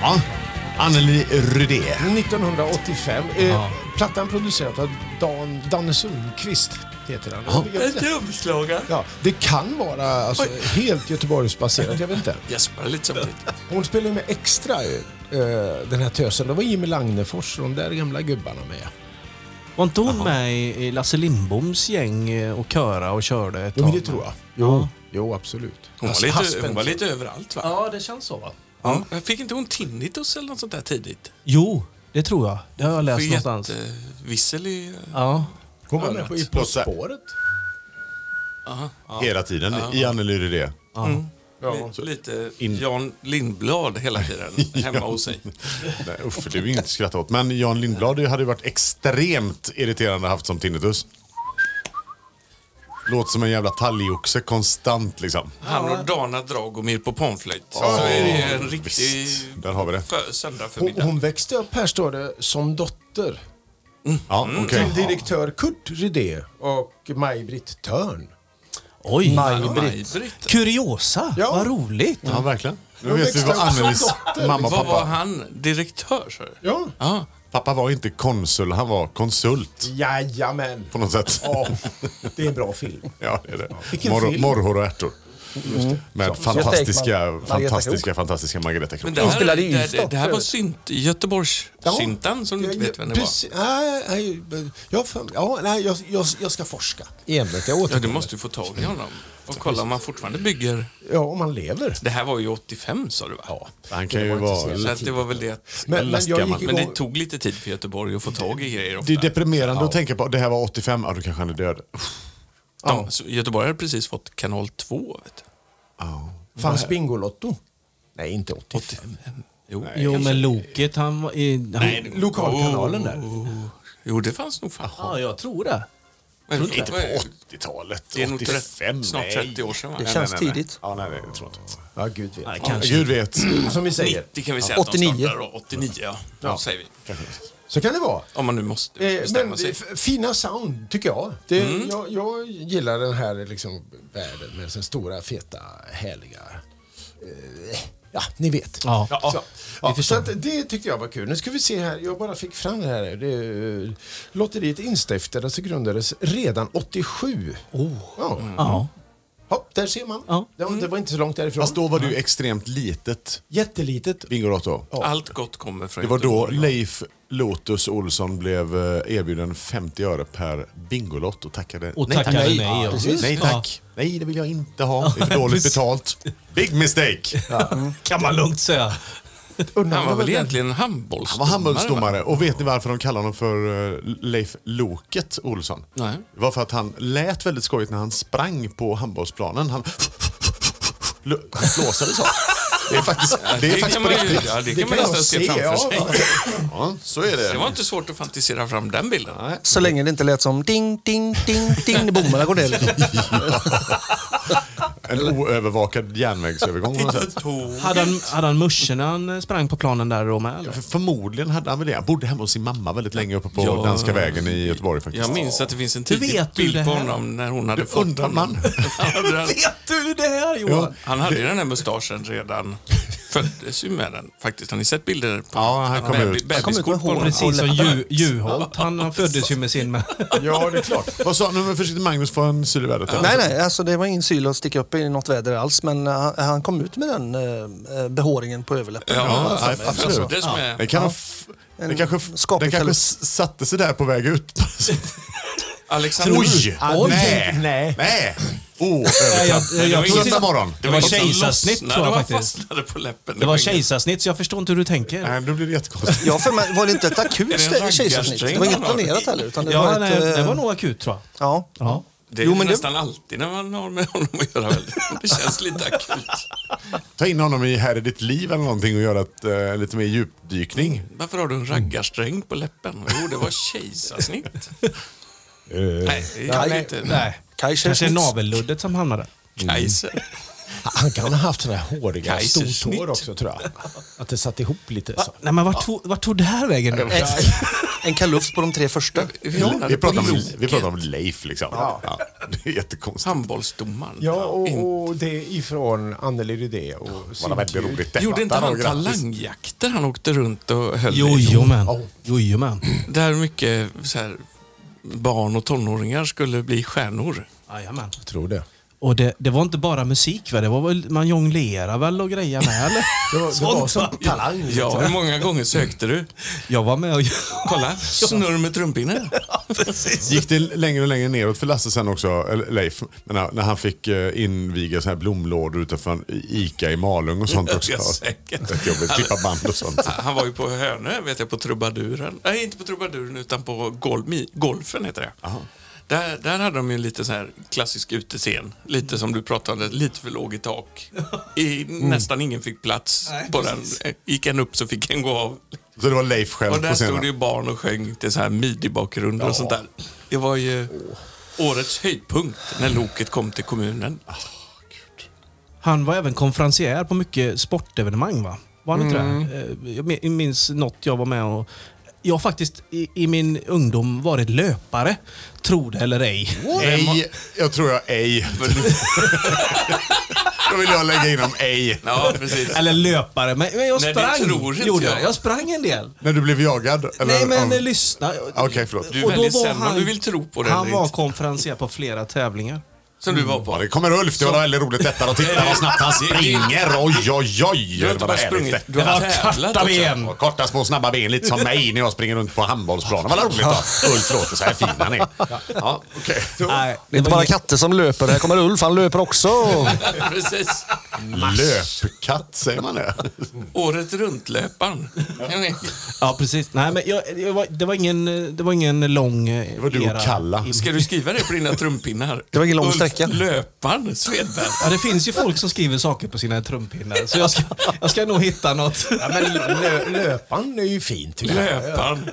[SPEAKER 4] Ja. Anneli Rydé.
[SPEAKER 5] 1985. Eh, plattan producerad av Dan, Danne Sundqvist heter han.
[SPEAKER 2] En trumslagare.
[SPEAKER 5] Ja, det kan vara alltså, helt Göteborgsbaserat, jag vet inte.
[SPEAKER 2] Gäspade lite samtidigt.
[SPEAKER 5] Hon spelade med Extra, eh, den här tösen. Det var Jimmy Langnefors och de där gamla gubbarna med.
[SPEAKER 3] Var inte hon med i i Lasse Lindboms gäng eh, och köra och körde ett
[SPEAKER 5] Jo, men
[SPEAKER 3] tag?
[SPEAKER 5] det tror jag. Jo, jo absolut.
[SPEAKER 2] Hon var,
[SPEAKER 5] Hasse
[SPEAKER 2] lite,
[SPEAKER 5] Haspel.
[SPEAKER 2] hon var lite överallt va?
[SPEAKER 3] Ja, det känns så va?
[SPEAKER 2] Ja. Fick inte hon tinnitus eller något sånt där tidigt?
[SPEAKER 3] Jo, det tror jag. Det har jag läst någonstans.
[SPEAKER 2] Jättevissel i...
[SPEAKER 3] Ja.
[SPEAKER 5] Hon var med på, i På
[SPEAKER 4] Plus-
[SPEAKER 5] spåret.
[SPEAKER 4] Hela tiden i Anneli Rydé.
[SPEAKER 2] li- Lite Jan Lindblad hela tiden
[SPEAKER 4] (laughs)
[SPEAKER 2] hemma hos sig.
[SPEAKER 4] Nej, usch, det är ju inget att skratta åt. Men Jan Lindblad hade ju varit extremt irriterande haft som tinnitus. Låter som en jävla talgoxe konstant liksom.
[SPEAKER 2] Han och Dana Dragomir på pomflöjt. så är det ju en riktig
[SPEAKER 4] Visst, där har vi det.
[SPEAKER 2] för, söndagsförmiddag.
[SPEAKER 5] Hon, hon växte upp här, står det, som dotter
[SPEAKER 4] Ja,
[SPEAKER 2] Mm.
[SPEAKER 4] okej.
[SPEAKER 5] till direktör Kurt Rydé och Maj-Britt Törn.
[SPEAKER 3] Oj!
[SPEAKER 2] Maj-Britt.
[SPEAKER 3] Kuriosa!
[SPEAKER 5] Ja.
[SPEAKER 3] Vad roligt!
[SPEAKER 4] Ja, verkligen. Nu
[SPEAKER 5] Jag
[SPEAKER 4] vet vi
[SPEAKER 5] växte
[SPEAKER 4] vad
[SPEAKER 5] upp som
[SPEAKER 4] Annelies
[SPEAKER 5] dotter.
[SPEAKER 4] mamma och
[SPEAKER 2] Vad var
[SPEAKER 4] pappa...
[SPEAKER 2] han? Direktör sa du?
[SPEAKER 5] Ja.
[SPEAKER 2] Ja.
[SPEAKER 4] Pappa var inte konsul, han var konsult
[SPEAKER 5] Jajamän.
[SPEAKER 4] på något sätt.
[SPEAKER 5] Ja, det är en bra film.
[SPEAKER 4] Ja, det är det.
[SPEAKER 5] Vilken
[SPEAKER 4] Mor-
[SPEAKER 5] film.
[SPEAKER 4] morrhår och ärtor. Med fantastiska,
[SPEAKER 8] Ekman.
[SPEAKER 4] fantastiska, fantastiska Margareta
[SPEAKER 2] Men
[SPEAKER 4] Krook.
[SPEAKER 2] det här,
[SPEAKER 8] spelade i
[SPEAKER 2] det,
[SPEAKER 8] Ystad,
[SPEAKER 2] det, det här var
[SPEAKER 8] förut.
[SPEAKER 2] synt, Göteborgs-syntan som du inte vet vem det var.
[SPEAKER 5] Precis, nej, nej, jag, har för- ja, nej, jag, jag, jag ska forska i ämnet. Jag
[SPEAKER 2] Ja, du
[SPEAKER 5] återkommer.
[SPEAKER 2] måste ju få tag i honom och kolla om han fortfarande bygger.
[SPEAKER 5] Ja, om han lever.
[SPEAKER 2] Det här var ju 85 sa du va?
[SPEAKER 4] Han kan ju vara...
[SPEAKER 2] Så att det var väl det. att-
[SPEAKER 5] Men, men jag
[SPEAKER 4] lastgammal.
[SPEAKER 5] gick
[SPEAKER 2] Men
[SPEAKER 5] igång...
[SPEAKER 2] det tog lite tid för Göteborg att få tag i grejer ofta.
[SPEAKER 4] Det är deprimerande att tänka på. Det här var 85, ja då kanske han är död.
[SPEAKER 2] De, så Göteborg hade precis fått kanal 2. Vet
[SPEAKER 5] Fanns Bingolotto? Nej, inte 80.
[SPEAKER 2] du. 85. Jo,
[SPEAKER 3] Jo, men Loket han var... i- Han...
[SPEAKER 5] Lokalkanalen
[SPEAKER 2] Oh.
[SPEAKER 5] där.
[SPEAKER 2] jo, det fanns nog fan.
[SPEAKER 3] Ja, jag tror det.
[SPEAKER 2] Men,
[SPEAKER 4] Inte på
[SPEAKER 2] vad är-
[SPEAKER 4] 80-talet.
[SPEAKER 2] Det är nog
[SPEAKER 4] 85,
[SPEAKER 2] snart
[SPEAKER 4] nej.
[SPEAKER 2] 30 år sedan, va?
[SPEAKER 4] Nej, nej,
[SPEAKER 8] känns
[SPEAKER 4] nej, nej.
[SPEAKER 8] tidigt.
[SPEAKER 4] Ja, nej, nej, det tror jag inte.
[SPEAKER 5] Ja, gud vet.
[SPEAKER 3] Nej,
[SPEAKER 4] Ja,
[SPEAKER 3] kanske.
[SPEAKER 4] Gud vet.
[SPEAKER 5] Som vi säger,
[SPEAKER 2] 90 kan vi säga att 89.
[SPEAKER 8] 89.
[SPEAKER 2] de startar då. 89, ja. ja. säger vi.
[SPEAKER 5] så kan det vara.
[SPEAKER 2] Om man nu måste
[SPEAKER 5] Eh,
[SPEAKER 2] bestämma
[SPEAKER 5] Men
[SPEAKER 2] sig. Mm.
[SPEAKER 5] f- fina sound, tycker jag. Det, jag. Jag gillar den här liksom, världen med den stora, feta, härliga... eh, Ja, ni vet.
[SPEAKER 3] Ja.
[SPEAKER 5] Så, ja, så att det tyckte jag var kul. Nu ska vi se här. Jag bara fick fram det här. Det, eh, lotteriet instiftades och grundades redan 87. Oh. Ja.
[SPEAKER 3] Ja.
[SPEAKER 5] Hopp, där ser man.
[SPEAKER 3] Ja.
[SPEAKER 5] Det, var- det var inte så långt därifrån.
[SPEAKER 4] Fast då var du extremt litet,
[SPEAKER 5] Jättelitet.
[SPEAKER 4] Bingolotto.
[SPEAKER 2] Allt gott kommer från
[SPEAKER 4] Det var då
[SPEAKER 2] Göteborg.
[SPEAKER 4] Leif Lotus Olsson blev eh, erbjuden 50 öre per Bingolott och tackade
[SPEAKER 3] Och tackade nej. ja.
[SPEAKER 4] Precis. Nej tack. Nej, det vill jag inte ha. Det är för dåligt
[SPEAKER 3] precis.
[SPEAKER 4] betalt. Big mistake.
[SPEAKER 3] Ja, Kan man lugnt säga.
[SPEAKER 2] Han var väl
[SPEAKER 5] den-
[SPEAKER 2] egentligen en
[SPEAKER 4] Han
[SPEAKER 2] handbollsdomare?
[SPEAKER 4] var
[SPEAKER 2] va?
[SPEAKER 4] handbollsdomare. Och vet ni varför de kallar honom för eh, Leif Loket Olsson?
[SPEAKER 2] Nej.
[SPEAKER 4] Det var för att han lät väldigt skojigt när han sprang på handbollsplanen. Han, (laughs) Lu- han flåsade så. Det är faktiskt, det är
[SPEAKER 2] Det
[SPEAKER 4] faktiskt
[SPEAKER 2] kan
[SPEAKER 4] på
[SPEAKER 2] man ju
[SPEAKER 4] riktigt.
[SPEAKER 2] ja, det
[SPEAKER 5] Det
[SPEAKER 2] kan man nästan se framför sig.
[SPEAKER 5] ja.
[SPEAKER 4] Ja, så är
[SPEAKER 2] Det var
[SPEAKER 4] det.
[SPEAKER 2] inte svårt att fantisera fram den bilden.
[SPEAKER 8] Så länge det inte lät som ding, ding, ding, ding när bommarna går ner. liksom.
[SPEAKER 4] En oövervakad järnvägsövergång. på något sätt.
[SPEAKER 3] Hade han, hade han muschen när han eh, sprang på planen där då med? Eller?
[SPEAKER 4] För förmodligen hade han väl det. Han bodde hemma hos sin mamma väldigt länge uppe på
[SPEAKER 2] Ja.
[SPEAKER 4] Danska vägen i Göteborg faktiskt.
[SPEAKER 2] Jag minns att det finns en
[SPEAKER 3] Hur
[SPEAKER 2] tidig
[SPEAKER 3] vet du det
[SPEAKER 2] bild på
[SPEAKER 3] här?
[SPEAKER 2] honom när hon hade
[SPEAKER 4] Det
[SPEAKER 2] fått
[SPEAKER 4] (laughs) undrar man.
[SPEAKER 2] honom. Han hade den-
[SPEAKER 3] Vet du det här
[SPEAKER 4] Ja.
[SPEAKER 2] Han hade ju den här mustaschen redan. Föddes ju med den faktiskt. Har ni sett bilder på
[SPEAKER 4] Ja, han kom
[SPEAKER 2] bebis-
[SPEAKER 4] ut.
[SPEAKER 8] Jag kommer inte
[SPEAKER 2] bebiskort på
[SPEAKER 8] ihåg.
[SPEAKER 2] honom?
[SPEAKER 3] Precis som
[SPEAKER 8] Och läpparna.
[SPEAKER 3] Ju- Juholt. Han, han föddes ju med sin... Med. (laughs)
[SPEAKER 5] ja, det är klart.
[SPEAKER 4] Vad sa du? Men försiktigt Magnus får en syl i vädret. här.
[SPEAKER 8] Nej, nej, alltså det var ingen syl att sticka upp i något väder alls, men eh, han, han kom ut med den eh, behåringen på överläppen.
[SPEAKER 4] Ja, nej,
[SPEAKER 2] Alltså,
[SPEAKER 4] absolut.
[SPEAKER 2] det som är-
[SPEAKER 4] Den, kan ha f- den kanske, f- den
[SPEAKER 8] skaplig
[SPEAKER 4] kanske
[SPEAKER 8] kalle-
[SPEAKER 4] s- satte sig där på väg ut.
[SPEAKER 2] Alexander...
[SPEAKER 5] Oj.
[SPEAKER 4] Nej!
[SPEAKER 5] Nej.
[SPEAKER 4] Nej! Åh,
[SPEAKER 3] Nej, jag-
[SPEAKER 4] övertramp.
[SPEAKER 3] jag- jag-
[SPEAKER 4] Söndag morgon.
[SPEAKER 3] Det var
[SPEAKER 2] inget som
[SPEAKER 3] kejsarsnitt,
[SPEAKER 2] lossnade
[SPEAKER 3] tror jag
[SPEAKER 2] och
[SPEAKER 3] faktiskt.
[SPEAKER 2] fastnade på läppen.
[SPEAKER 3] Det var
[SPEAKER 2] inget-
[SPEAKER 3] kejsarsnitt, så jag förstår inte hur du tänker.
[SPEAKER 4] Nej, då blir det jättekonstigt.
[SPEAKER 8] Ja, för mig var det inte ett akut
[SPEAKER 2] Är det en
[SPEAKER 8] kejsarsnitt? Det var
[SPEAKER 2] raggarsträng
[SPEAKER 8] inget
[SPEAKER 2] han har?
[SPEAKER 8] planerat heller. Utan det var
[SPEAKER 3] Ja,
[SPEAKER 8] ett,
[SPEAKER 3] nej, det
[SPEAKER 8] eh,
[SPEAKER 3] var nog akut tror jag.
[SPEAKER 8] Ja.
[SPEAKER 3] Ja.
[SPEAKER 2] Det är
[SPEAKER 8] Jo,
[SPEAKER 2] ju
[SPEAKER 8] men det-
[SPEAKER 2] nästan alltid när man har med honom att göra. Väl. Det känns lite akut.
[SPEAKER 4] Ta in honom i Här är ditt liv eller någonting och göra ett, eh, lite mer djupdykning.
[SPEAKER 2] Varför har du en raggarsträng på läppen? Jo, det var kejsarsnitt.
[SPEAKER 4] Eh.
[SPEAKER 2] Nej, det är
[SPEAKER 8] nej.
[SPEAKER 2] inte.
[SPEAKER 3] Nej. Kanske
[SPEAKER 8] Kajsarsnitt.
[SPEAKER 3] navelluddet som hamnade.
[SPEAKER 4] Mm.
[SPEAKER 2] Kajser.
[SPEAKER 5] Han kan ha haft sådana här håriga
[SPEAKER 2] Kaisersnitt.
[SPEAKER 5] stortår också tror jag. Att det satt ihop lite så.
[SPEAKER 3] Nej, men vart tog, vart tog det här vägen? nu?
[SPEAKER 1] En, en kalufs på de tre första.
[SPEAKER 4] Vi pratar, om, vi pratar om Leif liksom. Ja. det är jättekonstigt.
[SPEAKER 2] Handbollsdomaren.
[SPEAKER 5] Ja,
[SPEAKER 2] In-
[SPEAKER 5] och, och det är ifrån Anneli Rydé och
[SPEAKER 4] Vad väldigt
[SPEAKER 5] Sigrid.
[SPEAKER 4] roligt detta.
[SPEAKER 2] Gjorde inte han
[SPEAKER 4] Grattis.
[SPEAKER 2] talangjakter han åkte runt och höll i?
[SPEAKER 3] Jojomen. Jojomen.
[SPEAKER 2] Där mycket så här, barn och tonåringar skulle bli stjärnor.
[SPEAKER 3] Jajamän.
[SPEAKER 5] Jag tror det.
[SPEAKER 3] Och det, det var inte bara musik va? Det var väl, man jonglerade väl och grejer med (laughs) eller?
[SPEAKER 5] Det var, det var
[SPEAKER 3] Sånt,
[SPEAKER 5] som
[SPEAKER 3] va?
[SPEAKER 5] talang.
[SPEAKER 2] Ja, hur många gånger sökte du?
[SPEAKER 3] Jag var med och...
[SPEAKER 2] Kolla, snurr med trumpinnen.
[SPEAKER 4] (laughs) Gick det längre och längre neråt för Lasse sen också, eller Leif, när, när han fick eh, inviga så här blomlådor utanför en Ica i Malung och sånt också.
[SPEAKER 2] Ja, säkert.
[SPEAKER 4] Rätt jobbigt, klippa band och sånt.
[SPEAKER 2] Han var ju på Hönö, vet jag, på trubaduren. Nej, inte på trubaduren utan på golf, golfen heter det. Där, där hade de ju lite så här klassisk utescen. Lite som du pratade, lite för låg i tak. I, Nästan ingen fick plats
[SPEAKER 3] Nej,
[SPEAKER 2] på den. Gick en upp så fick en gå av.
[SPEAKER 4] Så det var Leif själv
[SPEAKER 2] Och där
[SPEAKER 4] på
[SPEAKER 2] stod
[SPEAKER 4] scenen.
[SPEAKER 2] det ju barn och sjöng till så här midi-bakgrunder och sånt där. Det var ju årets höjdpunkt när loket kom till kommunen.
[SPEAKER 3] Han var även konferencier på mycket sportevenemang va? Var han inte
[SPEAKER 2] Mm.
[SPEAKER 3] det? Eh, Jag min- minns något jag var med och... Jag har faktiskt i, i min ungdom varit löpare. Tro det eller ej. Eh,
[SPEAKER 4] Ej, jag tror jag ej. (laughs) Då vill jag lägga in om ej.
[SPEAKER 2] Ja, precis.
[SPEAKER 3] Eller löpare, men, men jag
[SPEAKER 2] Nej, det
[SPEAKER 3] sprang.
[SPEAKER 2] tror inte
[SPEAKER 3] gjorde
[SPEAKER 2] jag.
[SPEAKER 3] jag. jag sprang en del.
[SPEAKER 4] När du blev jagad? Eller,
[SPEAKER 3] Nej men
[SPEAKER 4] ja.
[SPEAKER 3] eh, lyssna.
[SPEAKER 4] Okej, förlåt.
[SPEAKER 2] Du väljer sen om du vill tro på det
[SPEAKER 3] Han
[SPEAKER 2] eller
[SPEAKER 3] var
[SPEAKER 2] inte.
[SPEAKER 3] konferencier på flera tävlingar.
[SPEAKER 2] Som du var
[SPEAKER 4] Ja,
[SPEAKER 2] på.
[SPEAKER 4] det kommer Ulf. Det var väldigt roligt detta. Och titta vad snabbt han springer. Oj, oj, oj.
[SPEAKER 2] Du har inte bara sprungit, du har tävlat också.
[SPEAKER 3] ben.
[SPEAKER 4] Och korta små snabba ben, lite som mig när jag springer runt på handbollsplanen. Vad roligt
[SPEAKER 2] (laughs)
[SPEAKER 4] då. Ulf låter så här fin han är. Ja, okej.
[SPEAKER 3] Nej,
[SPEAKER 1] Det är inte
[SPEAKER 3] var
[SPEAKER 1] bara
[SPEAKER 3] inget-
[SPEAKER 1] katter som löper. Här kommer Ulf, han löper också.
[SPEAKER 2] Precis.
[SPEAKER 4] Äh, Löpkatt, säger man det?
[SPEAKER 2] Året runt-löparen.
[SPEAKER 3] Ja, precis. Nej, men jag, jag var, det, var ingen, eh, det var ingen lång eh,
[SPEAKER 4] var du och
[SPEAKER 3] era
[SPEAKER 4] Kalla.
[SPEAKER 3] i-
[SPEAKER 2] Ska du skriva det på dina trumpinnar?
[SPEAKER 1] Det var ingen lång
[SPEAKER 2] Ulf
[SPEAKER 1] sträcka.
[SPEAKER 2] Löparen Svedberg.
[SPEAKER 3] Ja, det finns ju folk som skriver saker på sina trumpinnar, så jag ska, jag ska nog hitta något.
[SPEAKER 5] Ja, men lö, löpan är ju fin tycker jag.
[SPEAKER 2] Löparen.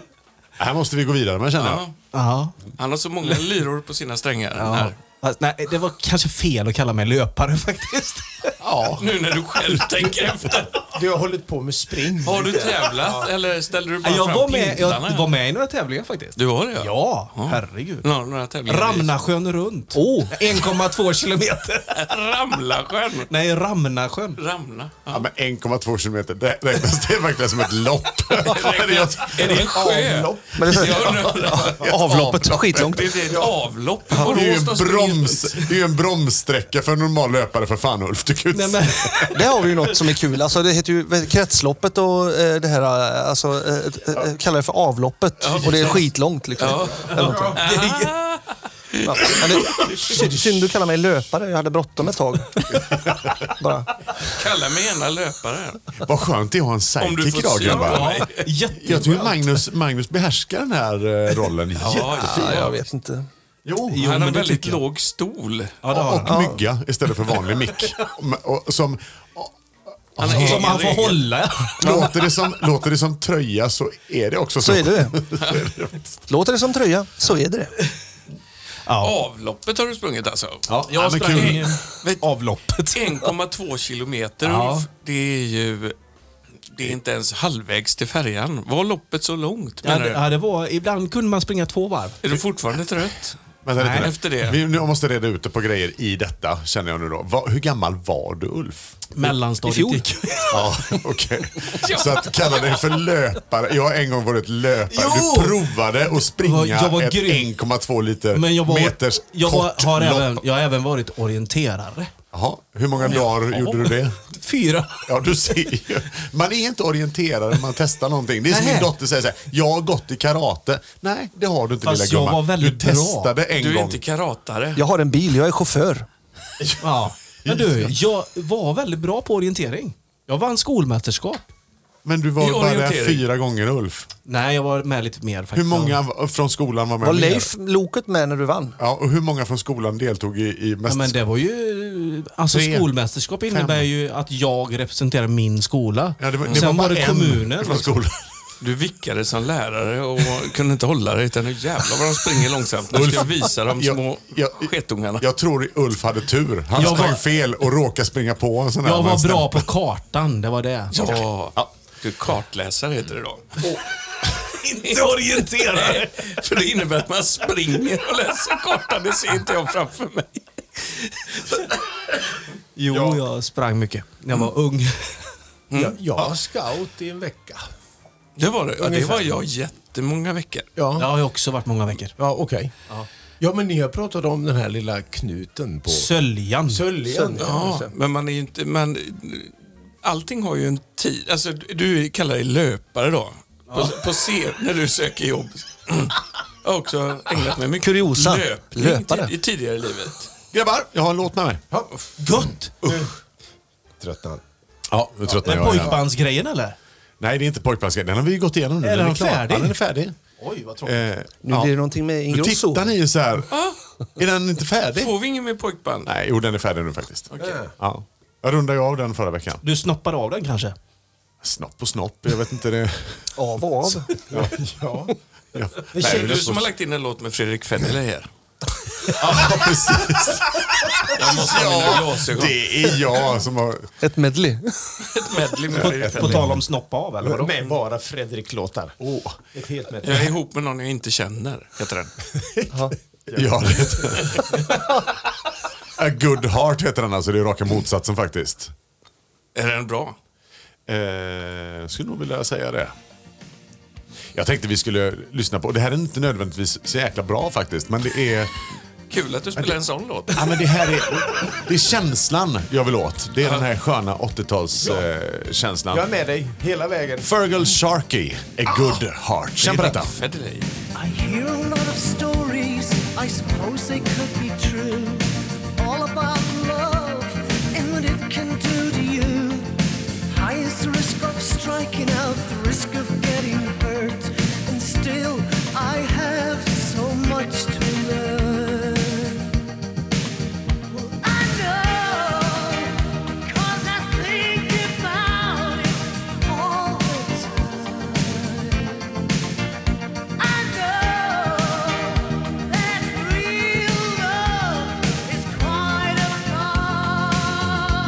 [SPEAKER 4] Här måste vi gå vidare med känner jag.
[SPEAKER 2] Ja.
[SPEAKER 3] Ja.
[SPEAKER 2] Han har så många lyror på sina strängar.
[SPEAKER 3] ja.
[SPEAKER 2] Här.
[SPEAKER 3] Fast, nej, det var kanske fel att kalla mig löpare (laughs) faktiskt.
[SPEAKER 5] Ja.
[SPEAKER 2] Nu när du själv tänker efter.
[SPEAKER 5] Du har hållit på med spring.
[SPEAKER 2] Har du tävlat eller ställde du bara
[SPEAKER 3] Jag
[SPEAKER 2] fram
[SPEAKER 3] var, med,
[SPEAKER 2] plintarna?
[SPEAKER 3] jag var med i några tävlingar faktiskt.
[SPEAKER 2] Du var det ja.
[SPEAKER 3] Ja, herregud.
[SPEAKER 2] Nå- några tävlingar.
[SPEAKER 3] Ramnasjön runt. Oh. 1,2 kilometer.
[SPEAKER 2] Ramlasjön.
[SPEAKER 3] Nej, Ramnasjön.
[SPEAKER 2] Ramla. Ja.
[SPEAKER 4] Ja, men 1,2 kilometer, det räknas det verkligen som
[SPEAKER 2] (laughs)
[SPEAKER 4] ett lopp?
[SPEAKER 2] Är det en sjö?
[SPEAKER 5] Avlopp.
[SPEAKER 1] Men det är så,
[SPEAKER 2] Jag undrar.
[SPEAKER 1] avloppet, skitlångt.
[SPEAKER 2] Det är ett avlopp. alltså, Och
[SPEAKER 4] Det är ju en,
[SPEAKER 2] Råsta springer-
[SPEAKER 4] broms, det är ju en bromssträcka för en normal löpare för fan Ulf. Du kan ju
[SPEAKER 3] Nej,
[SPEAKER 4] inte
[SPEAKER 3] men,
[SPEAKER 1] Där har vi ju något som är kul. Alltså, det heter ju kretsloppet och eh, det här, eh, alltså, eh, eh, kallar det för avloppet. Och det är skitlångt liksom. Eller någonting. Ja, men det, synd- synd du kallar mig löpare, jag hade bråttom ett tag. Bara.
[SPEAKER 2] Kalla mig gärna löpare.
[SPEAKER 4] Vad skönt det är att ha en
[SPEAKER 2] Om du
[SPEAKER 4] sidekick
[SPEAKER 2] får
[SPEAKER 4] idag
[SPEAKER 2] se på
[SPEAKER 4] grabbar.
[SPEAKER 2] mig.
[SPEAKER 3] jätte...
[SPEAKER 4] Jag tycker Magnus, Magnus behärskar den här eh, rollen
[SPEAKER 2] Ja,
[SPEAKER 4] jättefint.
[SPEAKER 1] Ja, jag vet inte.
[SPEAKER 4] Jo,
[SPEAKER 2] han har
[SPEAKER 3] men det
[SPEAKER 2] väldigt
[SPEAKER 3] tycker jag.
[SPEAKER 2] låg stol.
[SPEAKER 3] Ja, det har han.
[SPEAKER 4] och mygga istället för vanlig
[SPEAKER 3] (laughs)
[SPEAKER 4] mick. Och- och Som,
[SPEAKER 2] Han har
[SPEAKER 3] Som
[SPEAKER 2] egen
[SPEAKER 3] han får
[SPEAKER 2] regel.
[SPEAKER 3] hålla.
[SPEAKER 4] låter, det som, låter det som tröja så är det också så. (laughs)
[SPEAKER 1] Så är det det. Låter det som tröja, så är det det.
[SPEAKER 2] Avloppet har du sprungit alltså?
[SPEAKER 4] Ja, ja, men
[SPEAKER 2] sprang
[SPEAKER 4] kul.
[SPEAKER 2] en- vet-
[SPEAKER 3] Avloppet.
[SPEAKER 2] 1,2 kilometer
[SPEAKER 3] Ja.
[SPEAKER 2] Ulf. Det är ju... Det är inte ens halvvägs till färjan. Var loppet så långt
[SPEAKER 3] Ja,
[SPEAKER 2] menar
[SPEAKER 3] det,
[SPEAKER 2] du?
[SPEAKER 3] ja, det var, ibland kunde man springa två varv.
[SPEAKER 2] Är du fortfarande trött?
[SPEAKER 4] Vänta lite
[SPEAKER 2] Nej,
[SPEAKER 4] nu.
[SPEAKER 2] efter det.
[SPEAKER 4] Vi nu måste reda ut det på grejer i detta, känner jag nu då. Va, hur gammal var du, Ulf?
[SPEAKER 3] Mellanstadiet gick.
[SPEAKER 4] Ja, okej.
[SPEAKER 3] (laughs)
[SPEAKER 4] Så att kalla dig för löpare. Jag har en gång varit löpare. Du provade att springa
[SPEAKER 3] Jag var
[SPEAKER 4] ett
[SPEAKER 3] grym.
[SPEAKER 4] 1,2 liter
[SPEAKER 3] Men jag var,
[SPEAKER 4] meters
[SPEAKER 3] jag var,
[SPEAKER 4] kort
[SPEAKER 3] har
[SPEAKER 4] lopp.
[SPEAKER 3] även, Jag har även varit orienterare.
[SPEAKER 4] Jaha, hur många dagar gjorde du det?
[SPEAKER 3] Fyra.
[SPEAKER 4] Ja, du ser ju. Man är inte orienterad när man testar någonting. Det är som
[SPEAKER 3] Nej.
[SPEAKER 4] min dotter säger så här, jag har gått i karate. Nej, det har du inte
[SPEAKER 3] Fast
[SPEAKER 4] lilla
[SPEAKER 3] jag
[SPEAKER 4] gumman.
[SPEAKER 3] var väldigt
[SPEAKER 4] du
[SPEAKER 3] bra.
[SPEAKER 4] testade en
[SPEAKER 2] Du är
[SPEAKER 4] gång.
[SPEAKER 2] inte karatare.
[SPEAKER 1] Jag har en bil, jag är chaufför.
[SPEAKER 3] Ja. Men du, jag var väldigt bra på orientering. Jag vann skolmästerskap.
[SPEAKER 4] Men du
[SPEAKER 2] I
[SPEAKER 4] var bara där
[SPEAKER 2] orientering.
[SPEAKER 4] fyra gånger Ulf.
[SPEAKER 3] Nej, jag var med lite mer faktiskt.
[SPEAKER 4] Hur många v- från skolan var med?
[SPEAKER 1] Var
[SPEAKER 4] mer?
[SPEAKER 1] Leif loket med när du vann?
[SPEAKER 4] Ja, och hur många från skolan deltog i, i
[SPEAKER 3] Ja,
[SPEAKER 4] mest...
[SPEAKER 3] men det var ju... Alltså
[SPEAKER 4] Tre.
[SPEAKER 3] skolmästerskap innebär ju att jag representerar min skola.
[SPEAKER 4] Ja, det var- det
[SPEAKER 3] Sen
[SPEAKER 4] var
[SPEAKER 3] var,
[SPEAKER 4] bara
[SPEAKER 3] det
[SPEAKER 4] en
[SPEAKER 3] kommunen.
[SPEAKER 4] från skolan. (laughs)
[SPEAKER 2] Du vickade som lärare och kunde inte hålla dig. Utan nu jävlar vad de springer långsamt. Nu ska jag visa de små
[SPEAKER 4] jag-
[SPEAKER 2] sketungarna.
[SPEAKER 4] Jag tror Ulf hade tur. Han
[SPEAKER 3] Jag
[SPEAKER 4] sprang
[SPEAKER 3] var-
[SPEAKER 4] fel och råkade springa på en sån här.
[SPEAKER 3] Jag
[SPEAKER 4] med en
[SPEAKER 3] var bra
[SPEAKER 4] stämpel.
[SPEAKER 3] på kartan, det var det.
[SPEAKER 2] Ja. Du kartläsare heter det då. (laughs) inte orienterare. För det innebär att man springer och läser kartan. Det ser inte jag framför mig.
[SPEAKER 3] Jo, jag sprang mycket när jag
[SPEAKER 4] Mm.
[SPEAKER 3] var ung.
[SPEAKER 5] Jag, jag var scout i en vecka.
[SPEAKER 2] Det var det. Ja, det
[SPEAKER 5] Ungefär.
[SPEAKER 2] var jag jättemånga veckor.
[SPEAKER 5] Ja,
[SPEAKER 3] Det
[SPEAKER 5] ja.
[SPEAKER 3] har ju också varit många veckor.
[SPEAKER 5] okej. Ja. men ni har pratat om den här lilla knuten på...
[SPEAKER 3] Söljan.
[SPEAKER 5] Söljan.
[SPEAKER 2] Ja, men man är ju inte... Man, allting har ju en tid. Alltså, du kallar dig löpare då. På, på C, när du söker jobb. Jag har också ägnat mig mycket
[SPEAKER 1] Kuriosa.
[SPEAKER 2] löpning
[SPEAKER 1] Löpare.
[SPEAKER 2] ti- i tidigare i livet.
[SPEAKER 4] Grabbar, jag har en låt med mig.
[SPEAKER 3] Gött!
[SPEAKER 5] Tröttnar.
[SPEAKER 4] Ja, nu tröttnar
[SPEAKER 3] Den
[SPEAKER 4] jag igen.
[SPEAKER 3] pojkbandsgrejen eller?
[SPEAKER 4] Nej, det är inte pojkbandsgrejen. Den har vi ju gått igenom nu.
[SPEAKER 3] Är den
[SPEAKER 4] klar.
[SPEAKER 3] färdig?
[SPEAKER 4] Ja, den är färdig.
[SPEAKER 3] Oj, vad tråkigt.
[SPEAKER 4] Eh,
[SPEAKER 1] Nu blir det någonting med
[SPEAKER 4] nu
[SPEAKER 1] Ingrosso.
[SPEAKER 4] tittar ni ju så här. Är den inte färdig?
[SPEAKER 2] Får vi ingen mer pojkband?
[SPEAKER 4] Nej, jo den är färdig nu faktiskt. Ja. Jag rundade ju av den förra veckan.
[SPEAKER 3] Du snoppade av den kanske?
[SPEAKER 4] Snopp och snopp, jag vet inte det.
[SPEAKER 1] Av och av.
[SPEAKER 5] Ja.
[SPEAKER 4] Ja.
[SPEAKER 2] Det är
[SPEAKER 4] Nej,
[SPEAKER 2] du som har lagt in en låt med Fredrik Federley här.
[SPEAKER 4] Ja, precis.
[SPEAKER 2] Jag måste ha mina glasögon.
[SPEAKER 4] Det är jag som har...
[SPEAKER 1] Ett medley.
[SPEAKER 2] Ett medley med Fredrik
[SPEAKER 3] På
[SPEAKER 2] Federley.
[SPEAKER 3] tal om snoppa av eller vadå?
[SPEAKER 5] Med bara Fredrik-låtar.
[SPEAKER 4] Åh.
[SPEAKER 5] Ett helt med.
[SPEAKER 2] Jag är ihop med någon jag inte känner, heter den.
[SPEAKER 4] Ja, det heter A good heart heter den alltså. Det är raka motsatsen faktiskt.
[SPEAKER 2] Är den bra?
[SPEAKER 4] Eh, skulle nog vilja säga det. Jag tänkte vi skulle lyssna på, det här är inte nödvändigtvis så jäkla bra faktiskt, men det är,
[SPEAKER 2] Kul att du spelar en sån låt.
[SPEAKER 4] ja, men det här är, det är känslan jag vill åt. Det är den här sköna 80-talskänslan. Eh, känslan.
[SPEAKER 5] Jag är med dig hela vägen.
[SPEAKER 4] Fergal Sharkey, A good heart. Känn på detta.
[SPEAKER 2] Federley.
[SPEAKER 7] I hear a lot of stories, I suppose they could be true. All about love and what it can do to you. High is the risk of striking out, the risk of getting hurt. And still, I have so much to learn. I know, 'cause I think about it all the time. I know that real love is quite a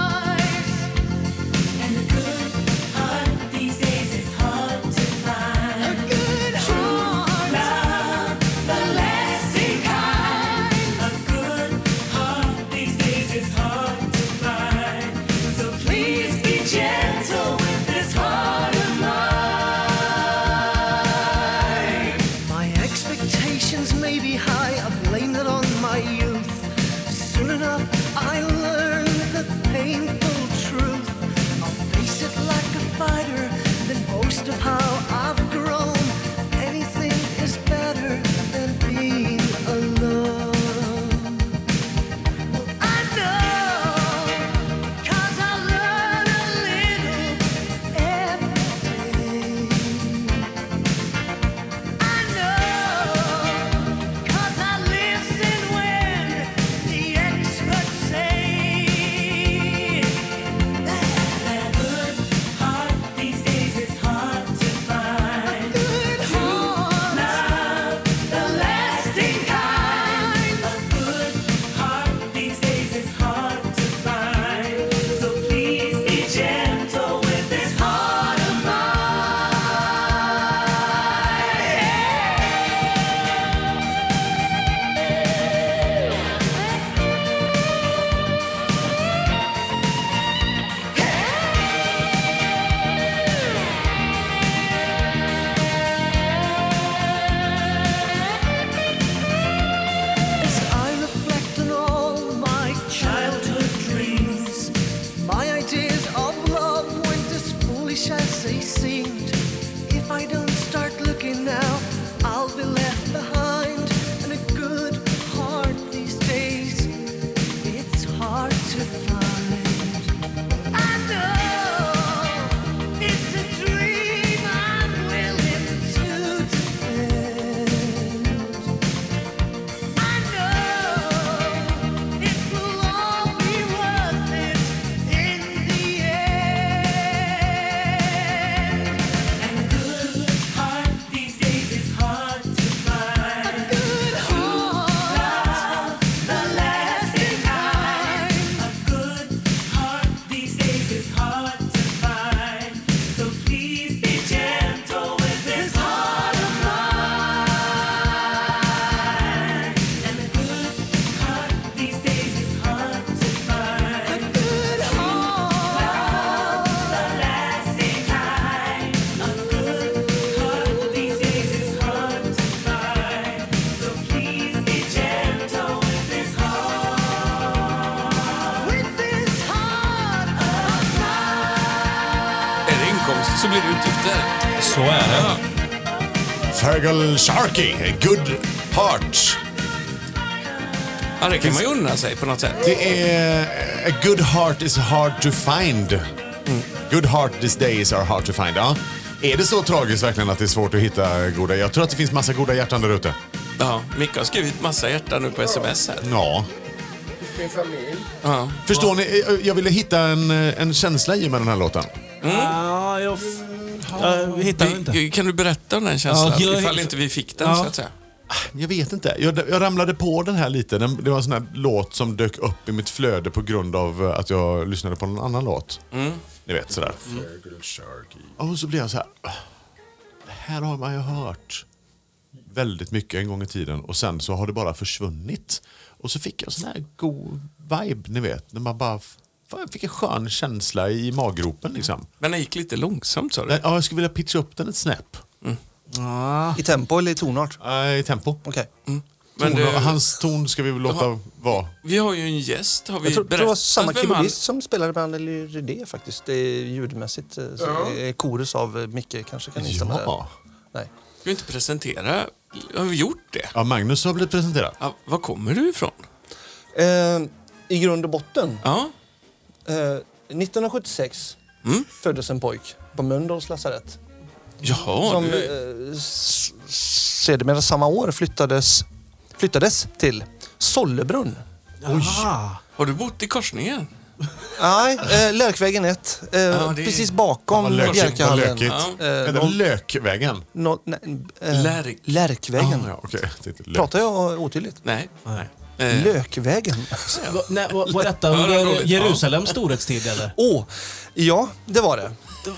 [SPEAKER 2] så blir det utgifter.
[SPEAKER 3] Så är det.
[SPEAKER 2] Ja.
[SPEAKER 4] Fergal Sharkey, Good Heart.
[SPEAKER 2] Ja, det kan man ju unna sig på något sätt.
[SPEAKER 4] Det är... A good heart is hard to find. Good heart these days are hard to find. Ja. Är det så tragiskt verkligen att det är svårt att hitta goda? Jag tror att det finns massa goda hjärtan där ute.
[SPEAKER 2] Ja, Micke har skrivit massa hjärtan nu på sms här.
[SPEAKER 4] Ja.
[SPEAKER 5] Min familj.
[SPEAKER 2] Ja.
[SPEAKER 4] Förstår ni? Jag ville hitta en, en känsla i med den här låten.
[SPEAKER 3] Mm.
[SPEAKER 2] Mm.
[SPEAKER 3] Ja, jag, f- jag hittar inte.
[SPEAKER 2] Vi, kan du berätta om den känslan?
[SPEAKER 3] Ja, jag-
[SPEAKER 2] Ifall inte vi fick den
[SPEAKER 3] Ja.
[SPEAKER 2] så att säga.
[SPEAKER 4] Jag vet inte. Jag, jag ramlade på den här lite. Den, det var en sån här låt som dök upp i mitt flöde på grund av eh, att jag lyssnade på en annan låt. Ni vet sådär. Och så blev jag så här. Det här har man ju hört väldigt mycket en gång i tiden och sen så har det bara försvunnit. Och så fick jag sån här god vibe, ni vet. När man bara fan, jag fick en skön känsla i maggropen liksom.
[SPEAKER 2] Men den gick lite långsamt sa du?
[SPEAKER 4] Men, ja, jag skulle vilja pitcha upp den ett snäpp. Ah.
[SPEAKER 1] I tempo eller i tonart?
[SPEAKER 4] Nej, I tempo.
[SPEAKER 1] Okej.
[SPEAKER 2] Men
[SPEAKER 4] Ton-
[SPEAKER 2] du,
[SPEAKER 4] Hans ton ska vi väl låta vara.
[SPEAKER 2] vi har ju en gäst. Har vi
[SPEAKER 1] Jag tror det var
[SPEAKER 2] berättat
[SPEAKER 1] samma
[SPEAKER 2] vem han-
[SPEAKER 1] keyboardist som spelade med Anneli Rydé faktiskt. Det är ljudmässigt. eh, Så det är Korus av eh, Micke kanske kan instämma
[SPEAKER 4] Ja.
[SPEAKER 1] där. Nej.
[SPEAKER 2] Ska vi inte presentera? Har vi gjort det?
[SPEAKER 4] ja, Magnus har blivit presenterad.
[SPEAKER 2] Ja, var kommer du ifrån?
[SPEAKER 1] Eh, I grund och botten.
[SPEAKER 2] Ja,
[SPEAKER 1] Eh, 1976
[SPEAKER 2] Mm.
[SPEAKER 1] föddes en pojk på Mölndals lasarett.
[SPEAKER 2] Jaha,
[SPEAKER 1] som
[SPEAKER 2] du,
[SPEAKER 1] eh, s- s- sedermera samma år flyttades, flyttades till Sollebrunn.
[SPEAKER 3] Jaha.
[SPEAKER 2] har du bott i korsningen?
[SPEAKER 1] Nej, eh, Lärkvägen 1. Eh,
[SPEAKER 2] det är-
[SPEAKER 1] Precis
[SPEAKER 4] Vad
[SPEAKER 1] bakom
[SPEAKER 4] lökigt. Vad
[SPEAKER 1] Jerkahallen.
[SPEAKER 4] lökigt.
[SPEAKER 2] Ja.
[SPEAKER 4] Är det Lökvägen?
[SPEAKER 1] Nå- nej, eh,
[SPEAKER 2] Lärk.
[SPEAKER 1] Lärkvägen.
[SPEAKER 4] Ah, ja, okej. Jag tänkte lök.
[SPEAKER 1] Pratar jag otydligt?
[SPEAKER 2] Nej.
[SPEAKER 3] Nej.
[SPEAKER 2] Eh,
[SPEAKER 1] Lökvägen.
[SPEAKER 3] Va- nej, va- Var detta
[SPEAKER 2] Ja, det var
[SPEAKER 3] under
[SPEAKER 2] roligt.
[SPEAKER 3] Jerusalems storhetstid eller?
[SPEAKER 1] Åh, ja det var det.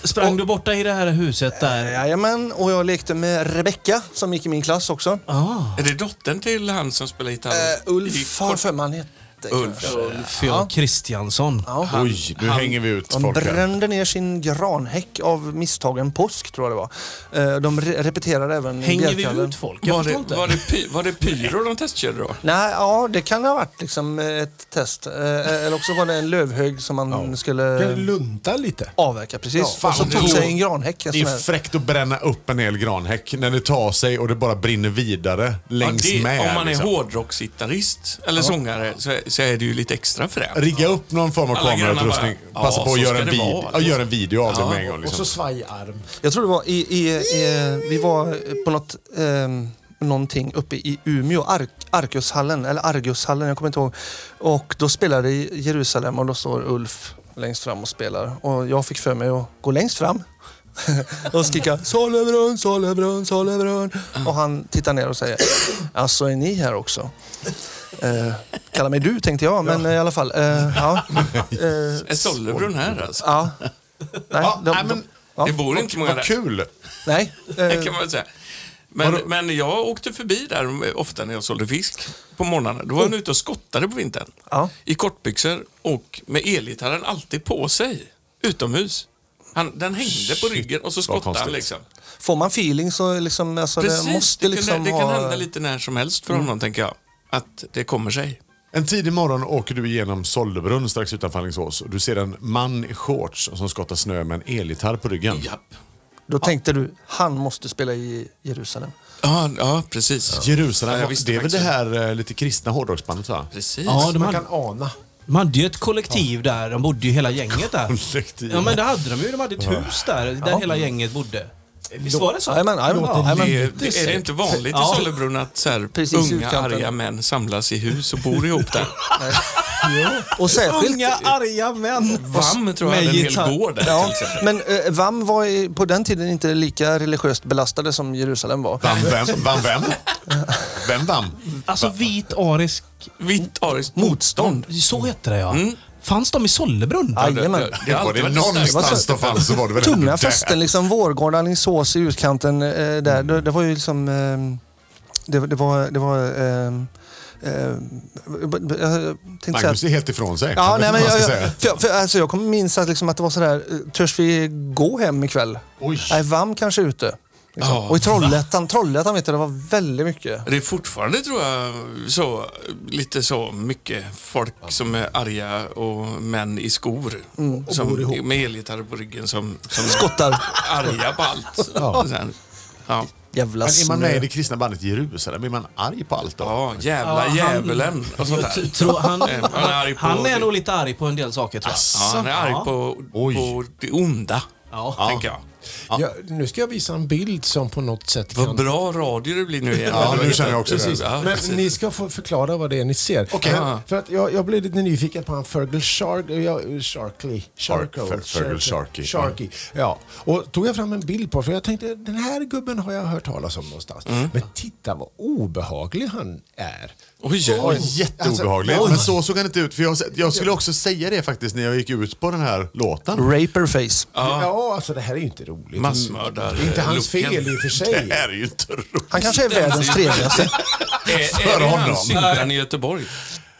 [SPEAKER 3] Sprang du borta i det här huset där?
[SPEAKER 1] Jajamän, och jag lekte med Rebecka som gick i min klass också.
[SPEAKER 3] Ah.
[SPEAKER 2] är det dottern till han som spelar gitarr?
[SPEAKER 1] Eh,
[SPEAKER 2] I
[SPEAKER 1] Ulf har
[SPEAKER 2] kors-
[SPEAKER 1] för mig han hette.
[SPEAKER 2] Ulf.
[SPEAKER 1] kanske.
[SPEAKER 3] Ulf ja. Kristiansson.
[SPEAKER 1] Ja.
[SPEAKER 4] Oj, nu hänger vi ut
[SPEAKER 1] De
[SPEAKER 4] folk här.
[SPEAKER 1] brände ner sin granhäck av misstagen påsk, tror jag det var. Eh, De re- repeterade även
[SPEAKER 3] Hänger vi
[SPEAKER 1] bjälkallen.
[SPEAKER 3] ut folk? Jag
[SPEAKER 2] Var
[SPEAKER 3] förstår
[SPEAKER 2] det,
[SPEAKER 3] inte.
[SPEAKER 2] var, det py, var det pyro de testkörde då?
[SPEAKER 1] Nej, ja, det kan ha varit liksom ett test. Eh, Eller också var det en lövhög som man
[SPEAKER 5] Kan du
[SPEAKER 1] skulle
[SPEAKER 5] Eh, lunta lite?
[SPEAKER 1] avverka. Precis.
[SPEAKER 4] fan,
[SPEAKER 1] och så
[SPEAKER 4] det
[SPEAKER 1] tog
[SPEAKER 4] är-
[SPEAKER 1] sig en granhäck. En
[SPEAKER 4] Det är
[SPEAKER 1] sån här.
[SPEAKER 4] fräckt att bränna upp en hel granhäck när det tar sig och det bara brinner vidare längs
[SPEAKER 2] det,
[SPEAKER 4] med.
[SPEAKER 2] om man är
[SPEAKER 4] liksom.
[SPEAKER 2] hårdrocksgitarrist eller sångare så, så är det ju lite extra fränt.
[SPEAKER 4] Rigga upp någon form av
[SPEAKER 2] Alla grannar
[SPEAKER 4] kamerautrustning.
[SPEAKER 2] bara,
[SPEAKER 4] Passa
[SPEAKER 2] ja,
[SPEAKER 4] på att
[SPEAKER 2] så
[SPEAKER 4] göra
[SPEAKER 2] ska
[SPEAKER 4] en,
[SPEAKER 2] det
[SPEAKER 4] vid-
[SPEAKER 2] vara,
[SPEAKER 4] ja,
[SPEAKER 2] liksom.
[SPEAKER 4] gör en video av det med en gång.
[SPEAKER 5] Och
[SPEAKER 4] Liksom.
[SPEAKER 5] så svajarm.
[SPEAKER 1] Jag tror det var i, i, i vi var på något, ehm, någonting uppe i Umeå, Ark, Arkushallen, eller Argushallen, jag kommer inte ihåg. Och då spelade i Jerusalem och då står Ulf längst fram och spelar. Och jag fick för mig att gå längst fram (laughs) och skrika Sollebrunn, Sollebrunn, Sollebrunn. Och han tittar ner och säger, alltså är ni här också? Eh, kalla mig du tänkte jag, men i alla fall. Eh, ja. Eh,
[SPEAKER 2] Är Sollebrunn här alltså?
[SPEAKER 1] ja. Nej,
[SPEAKER 4] Ja,
[SPEAKER 1] de,
[SPEAKER 4] nej,
[SPEAKER 1] de,
[SPEAKER 4] men-
[SPEAKER 2] det bor inte många
[SPEAKER 4] Vad
[SPEAKER 2] där.
[SPEAKER 4] kul!
[SPEAKER 1] nej.
[SPEAKER 2] Det
[SPEAKER 1] eh,
[SPEAKER 2] kan man säga. Men, men jag åkte förbi där ofta när jag sålde fisk på morgnarna. Då var
[SPEAKER 4] Oh.
[SPEAKER 2] jag ute och skottade på vintern.
[SPEAKER 1] Ja.
[SPEAKER 2] I kortbyxor och med elgitarren alltid på sig. Utomhus. Han, den hängde på ryggen och så skottade han
[SPEAKER 4] konstigt.
[SPEAKER 2] liksom.
[SPEAKER 1] Får man feeling så liksom, alltså, det
[SPEAKER 2] Precis,
[SPEAKER 1] måste
[SPEAKER 2] det,
[SPEAKER 1] liksom
[SPEAKER 2] kan, det kan
[SPEAKER 1] ha...
[SPEAKER 2] hända lite när som helst för
[SPEAKER 4] Mm.
[SPEAKER 2] honom tänker jag. Att det kommer sig.
[SPEAKER 4] En tidig morgon åker du igenom Sollebrunn strax utanför Alingsås och du ser en man i shorts som skottar snö med en elgitarr på ryggen.
[SPEAKER 2] Japp.
[SPEAKER 1] Då tänkte du, han måste spela i Jerusalem.
[SPEAKER 2] Ja, ja precis. Ja,
[SPEAKER 4] Jerusalem,
[SPEAKER 2] jag visste
[SPEAKER 4] det är väl det
[SPEAKER 2] faktiskt
[SPEAKER 4] här eh, lite kristna hårdrocksbandet va?
[SPEAKER 2] Precis.
[SPEAKER 3] Ja, de
[SPEAKER 5] Man
[SPEAKER 3] hade,
[SPEAKER 5] kan ana.
[SPEAKER 3] de hade ju ett kollektiv där. De bodde ju hela gänget där.
[SPEAKER 4] Kollektiv.
[SPEAKER 3] Ja, men det hade de ju. De hade ett hus där, där hela gänget bodde. Visst var det så?
[SPEAKER 1] Jajamän, jajamän, jajamän.
[SPEAKER 2] Det, det, är det inte vanligt
[SPEAKER 3] Ja.
[SPEAKER 2] i Sollebrunn att så här,
[SPEAKER 1] Precis i
[SPEAKER 2] unga
[SPEAKER 1] utkanten.
[SPEAKER 2] arga män samlas i hus och bor ihop där?
[SPEAKER 1] Och särskilt...
[SPEAKER 3] Unga arga män.
[SPEAKER 2] VAM tror jag
[SPEAKER 3] Med
[SPEAKER 2] hade en
[SPEAKER 3] gitarr.
[SPEAKER 2] hel gård där till
[SPEAKER 1] Ja,
[SPEAKER 2] exempel.
[SPEAKER 1] men eh, VAM var i, på den tiden inte lika religiöst belastade som Jerusalem var.
[SPEAKER 4] Vann vem? Vann vem? Vem vann?
[SPEAKER 3] Alltså vit arisk...
[SPEAKER 2] Vitt ariskt motstånd.
[SPEAKER 3] Motstånd. Så hette det ja. Fanns de i Sollebrunn?
[SPEAKER 1] Jajamän.
[SPEAKER 2] Mm. Det har
[SPEAKER 4] Var
[SPEAKER 2] alltid
[SPEAKER 4] det
[SPEAKER 2] varit någonstans.
[SPEAKER 4] någonstans
[SPEAKER 1] starkt.
[SPEAKER 4] det fanns så var det väl ändå
[SPEAKER 1] Tunga
[SPEAKER 4] där.
[SPEAKER 1] fästen, liksom Vårgårda, Alingsås i utkanten eh, där. Det, det var ju liksom... Eh, det, det var... Det var eh, eh, jag tänkte säga
[SPEAKER 4] Magnus är helt ifrån sig.
[SPEAKER 1] Ja, nej,
[SPEAKER 4] vet
[SPEAKER 1] men
[SPEAKER 4] inte vad
[SPEAKER 1] jag,
[SPEAKER 4] ska
[SPEAKER 1] jag, för, för, alltså, jag kommer minns att, liksom, att det var sådär, eh, törs vi gå hem ikväll?
[SPEAKER 4] Oj.
[SPEAKER 1] Nej, VAM kanske är ute. Liksom.
[SPEAKER 2] Ja,
[SPEAKER 1] och i Trollhättan, Trollhättan vet jag, det var väldigt mycket.
[SPEAKER 2] Det är fortfarande tror jag så, lite så mycket folk som är arga och män i skor. som, med elgitarrer på ryggen som, som
[SPEAKER 1] Skottar.
[SPEAKER 2] är arga på allt. Och sen- ja.
[SPEAKER 1] Jävla
[SPEAKER 4] Men är man med i
[SPEAKER 1] snö.
[SPEAKER 4] det kristna bandet Jerusalem, är man arg på allt då?
[SPEAKER 2] ja, jävla
[SPEAKER 3] Ja, han-
[SPEAKER 2] djävulen och sånt där.
[SPEAKER 3] T- Tror han,
[SPEAKER 2] Eh, (laughs) han är arg på-
[SPEAKER 3] han är nog lite arg på en del saker tror jag.
[SPEAKER 2] Ja, han är arg
[SPEAKER 3] typ-
[SPEAKER 2] på, på det onda,
[SPEAKER 3] Ja.
[SPEAKER 2] tänker jag.
[SPEAKER 5] Ja, nu ska jag visa en bild som på något sätt
[SPEAKER 2] Vad
[SPEAKER 5] kan...
[SPEAKER 2] bra radio det blir nu igen.
[SPEAKER 4] Ja, nu känner jag också det.
[SPEAKER 5] Precis.
[SPEAKER 2] Ja, precis.
[SPEAKER 5] Men ni ska få förklara vad det är ni ser.
[SPEAKER 4] Okej.
[SPEAKER 5] Men, för att jag, jag blev lite nyfiken på han Fergal Shark, jag, Sharkley. Sharko,
[SPEAKER 4] Fer- Fergal Sharkey.
[SPEAKER 5] Sharkey. Ja. Och tog jag fram en bild på för jag tänkte den här gubben har jag hört talas om någonstans. Men titta vad obehaglig han är.
[SPEAKER 2] Oj,
[SPEAKER 4] Ja,
[SPEAKER 2] oj. Alltså,
[SPEAKER 4] jätteobehagligt. men så såg han inte ut. För jag, jag skulle också säga det faktiskt när jag gick ut på den här låten.
[SPEAKER 1] Raperface.
[SPEAKER 5] Ja. alltså det här är ju inte roligt.
[SPEAKER 2] Massmördar-
[SPEAKER 5] Det är inte hans
[SPEAKER 2] looken.
[SPEAKER 5] fel i och för sig.
[SPEAKER 4] (laughs) Det här är ju inte roligt.
[SPEAKER 1] Han kanske är världens trevligaste.
[SPEAKER 2] Är, är det
[SPEAKER 4] honom.
[SPEAKER 2] han syntan i Göteborg?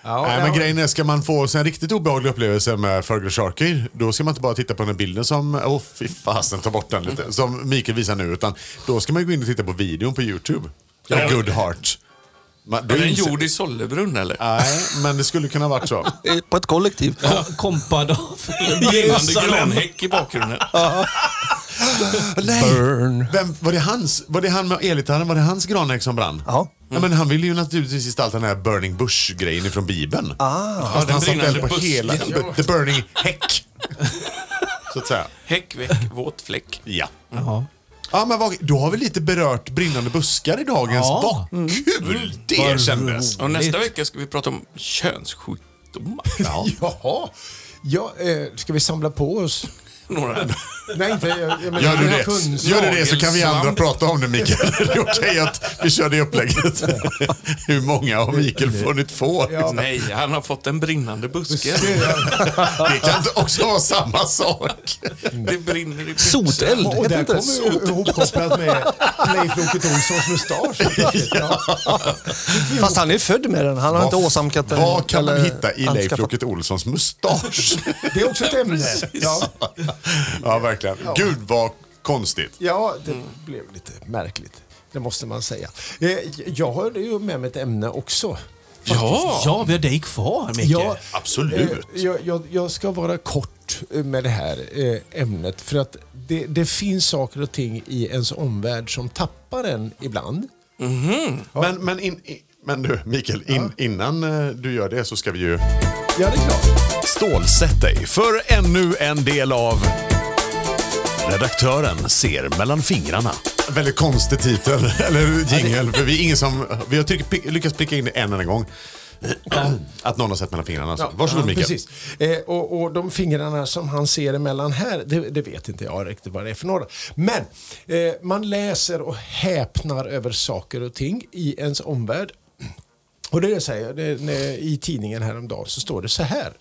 [SPEAKER 5] Ja,
[SPEAKER 4] Nej,
[SPEAKER 5] ja.
[SPEAKER 4] men grejen är, ska man få sig en riktigt obehaglig upplevelse med Fergal Sharkey, då ska man inte bara titta på den här bilden som, åh oh, fy fasen, ta bort den lite, som Mikael visar nu, utan då ska man ju gå in och titta på videon på YouTube. Ja. Good Heart. Man, då
[SPEAKER 2] Är den
[SPEAKER 4] inser-
[SPEAKER 2] gjord i Sollebrunn eller?
[SPEAKER 4] Nej, men det skulle kunna varit så.
[SPEAKER 1] Eh, På ett kollektiv.
[SPEAKER 3] Kom-
[SPEAKER 2] (laughs)
[SPEAKER 3] Kompad av
[SPEAKER 2] Brinnande
[SPEAKER 3] Jerusalem.
[SPEAKER 2] granhäck i bakgrunden.
[SPEAKER 1] Burn.
[SPEAKER 4] Vem, var, det hans, var det han med elgitarren, var det hans granhäck som brann?
[SPEAKER 1] Ja.
[SPEAKER 4] Ja, men han ville ju naturligtvis gestalta den här Burning Bush-grejen från Bibeln. Ah, Fast
[SPEAKER 2] den
[SPEAKER 4] han satte
[SPEAKER 2] brinnande
[SPEAKER 4] eld på
[SPEAKER 2] busken.
[SPEAKER 4] hela... The Burning Häck. så att säga.
[SPEAKER 2] Häck, väck, våt fläck.
[SPEAKER 4] Ja.
[SPEAKER 3] Jaha.
[SPEAKER 4] Ja, men vad, då har vi lite berört brinnande buskar i dagens
[SPEAKER 3] Ja.
[SPEAKER 4] Vad kul det kändes!
[SPEAKER 2] Och nästa vecka ska vi prata om könssjukdomar.
[SPEAKER 5] Jaha. Ja, eh, ska vi samla på oss?
[SPEAKER 2] (laughs) Några.
[SPEAKER 5] Nej, inte... Jag, jag menar,
[SPEAKER 4] Gör du
[SPEAKER 5] den här
[SPEAKER 4] det,
[SPEAKER 5] kunskapen.
[SPEAKER 4] gör du det så kan vi andra
[SPEAKER 2] Svamp.
[SPEAKER 4] prata om det Mikael. (laughs) Det är okej att vi kör det upplägget. Hur många har Mikael funnit få? (laughs)
[SPEAKER 2] Nej, han har fått en brinnande buske.
[SPEAKER 4] Det kan inte också vara samma sak.
[SPEAKER 2] Det brinner i
[SPEAKER 1] Soteld,
[SPEAKER 5] Och, och
[SPEAKER 1] heter
[SPEAKER 5] där
[SPEAKER 1] inte det?
[SPEAKER 5] kommer ju ihopkopplat med Leif Loket Olssons mustasch.
[SPEAKER 1] Fast han är född med den. Han har inte åsamkat den.
[SPEAKER 4] Vad kan man
[SPEAKER 1] eller
[SPEAKER 4] hitta i Leif
[SPEAKER 1] anskaffat.
[SPEAKER 4] Loket Olssons mustasch?
[SPEAKER 5] Det är också ett ämne. Ja,
[SPEAKER 4] ja, verkligen. Gud vad konstigt.
[SPEAKER 5] ja det blev lite märkligt. Det måste man säga. Eh, Jag har ju med mig ett ämne också.
[SPEAKER 2] Ja.
[SPEAKER 3] Ja, vi har dig kvar Micke.
[SPEAKER 5] Ja,
[SPEAKER 4] Absolut.
[SPEAKER 5] Eh, Jag, jag, jag ska vara kort eh, med det här eh, ämnet. För att det, det finns saker och ting i ens omvärld som tappar en ibland.
[SPEAKER 4] Men, men, in, i- men du, Mikael, in, innan eh, du gör det så ska vi ju...
[SPEAKER 5] Ja, det är klart.
[SPEAKER 6] Stålsätt dig för ännu en del av Redaktören ser mellan fingrarna.
[SPEAKER 4] Väldigt konstig titel, (laughs) eller jingel, för vi är ingen som... Vi har tryck, pi- lyckats pricka in det en
[SPEAKER 6] (clears throat)
[SPEAKER 4] enda gång. Att någon har sett mellan fingrarna. Alltså. Varsågod Mikael.
[SPEAKER 5] Precis. Eh, och, och de fingrarna som han ser emellan här, det, det vet inte jag riktigt vad det är för några. Men eh, man läser och häpnar över saker och ting i ens omvärld. Och det är så här, det, när- i tidningen häromdagen så står det så här.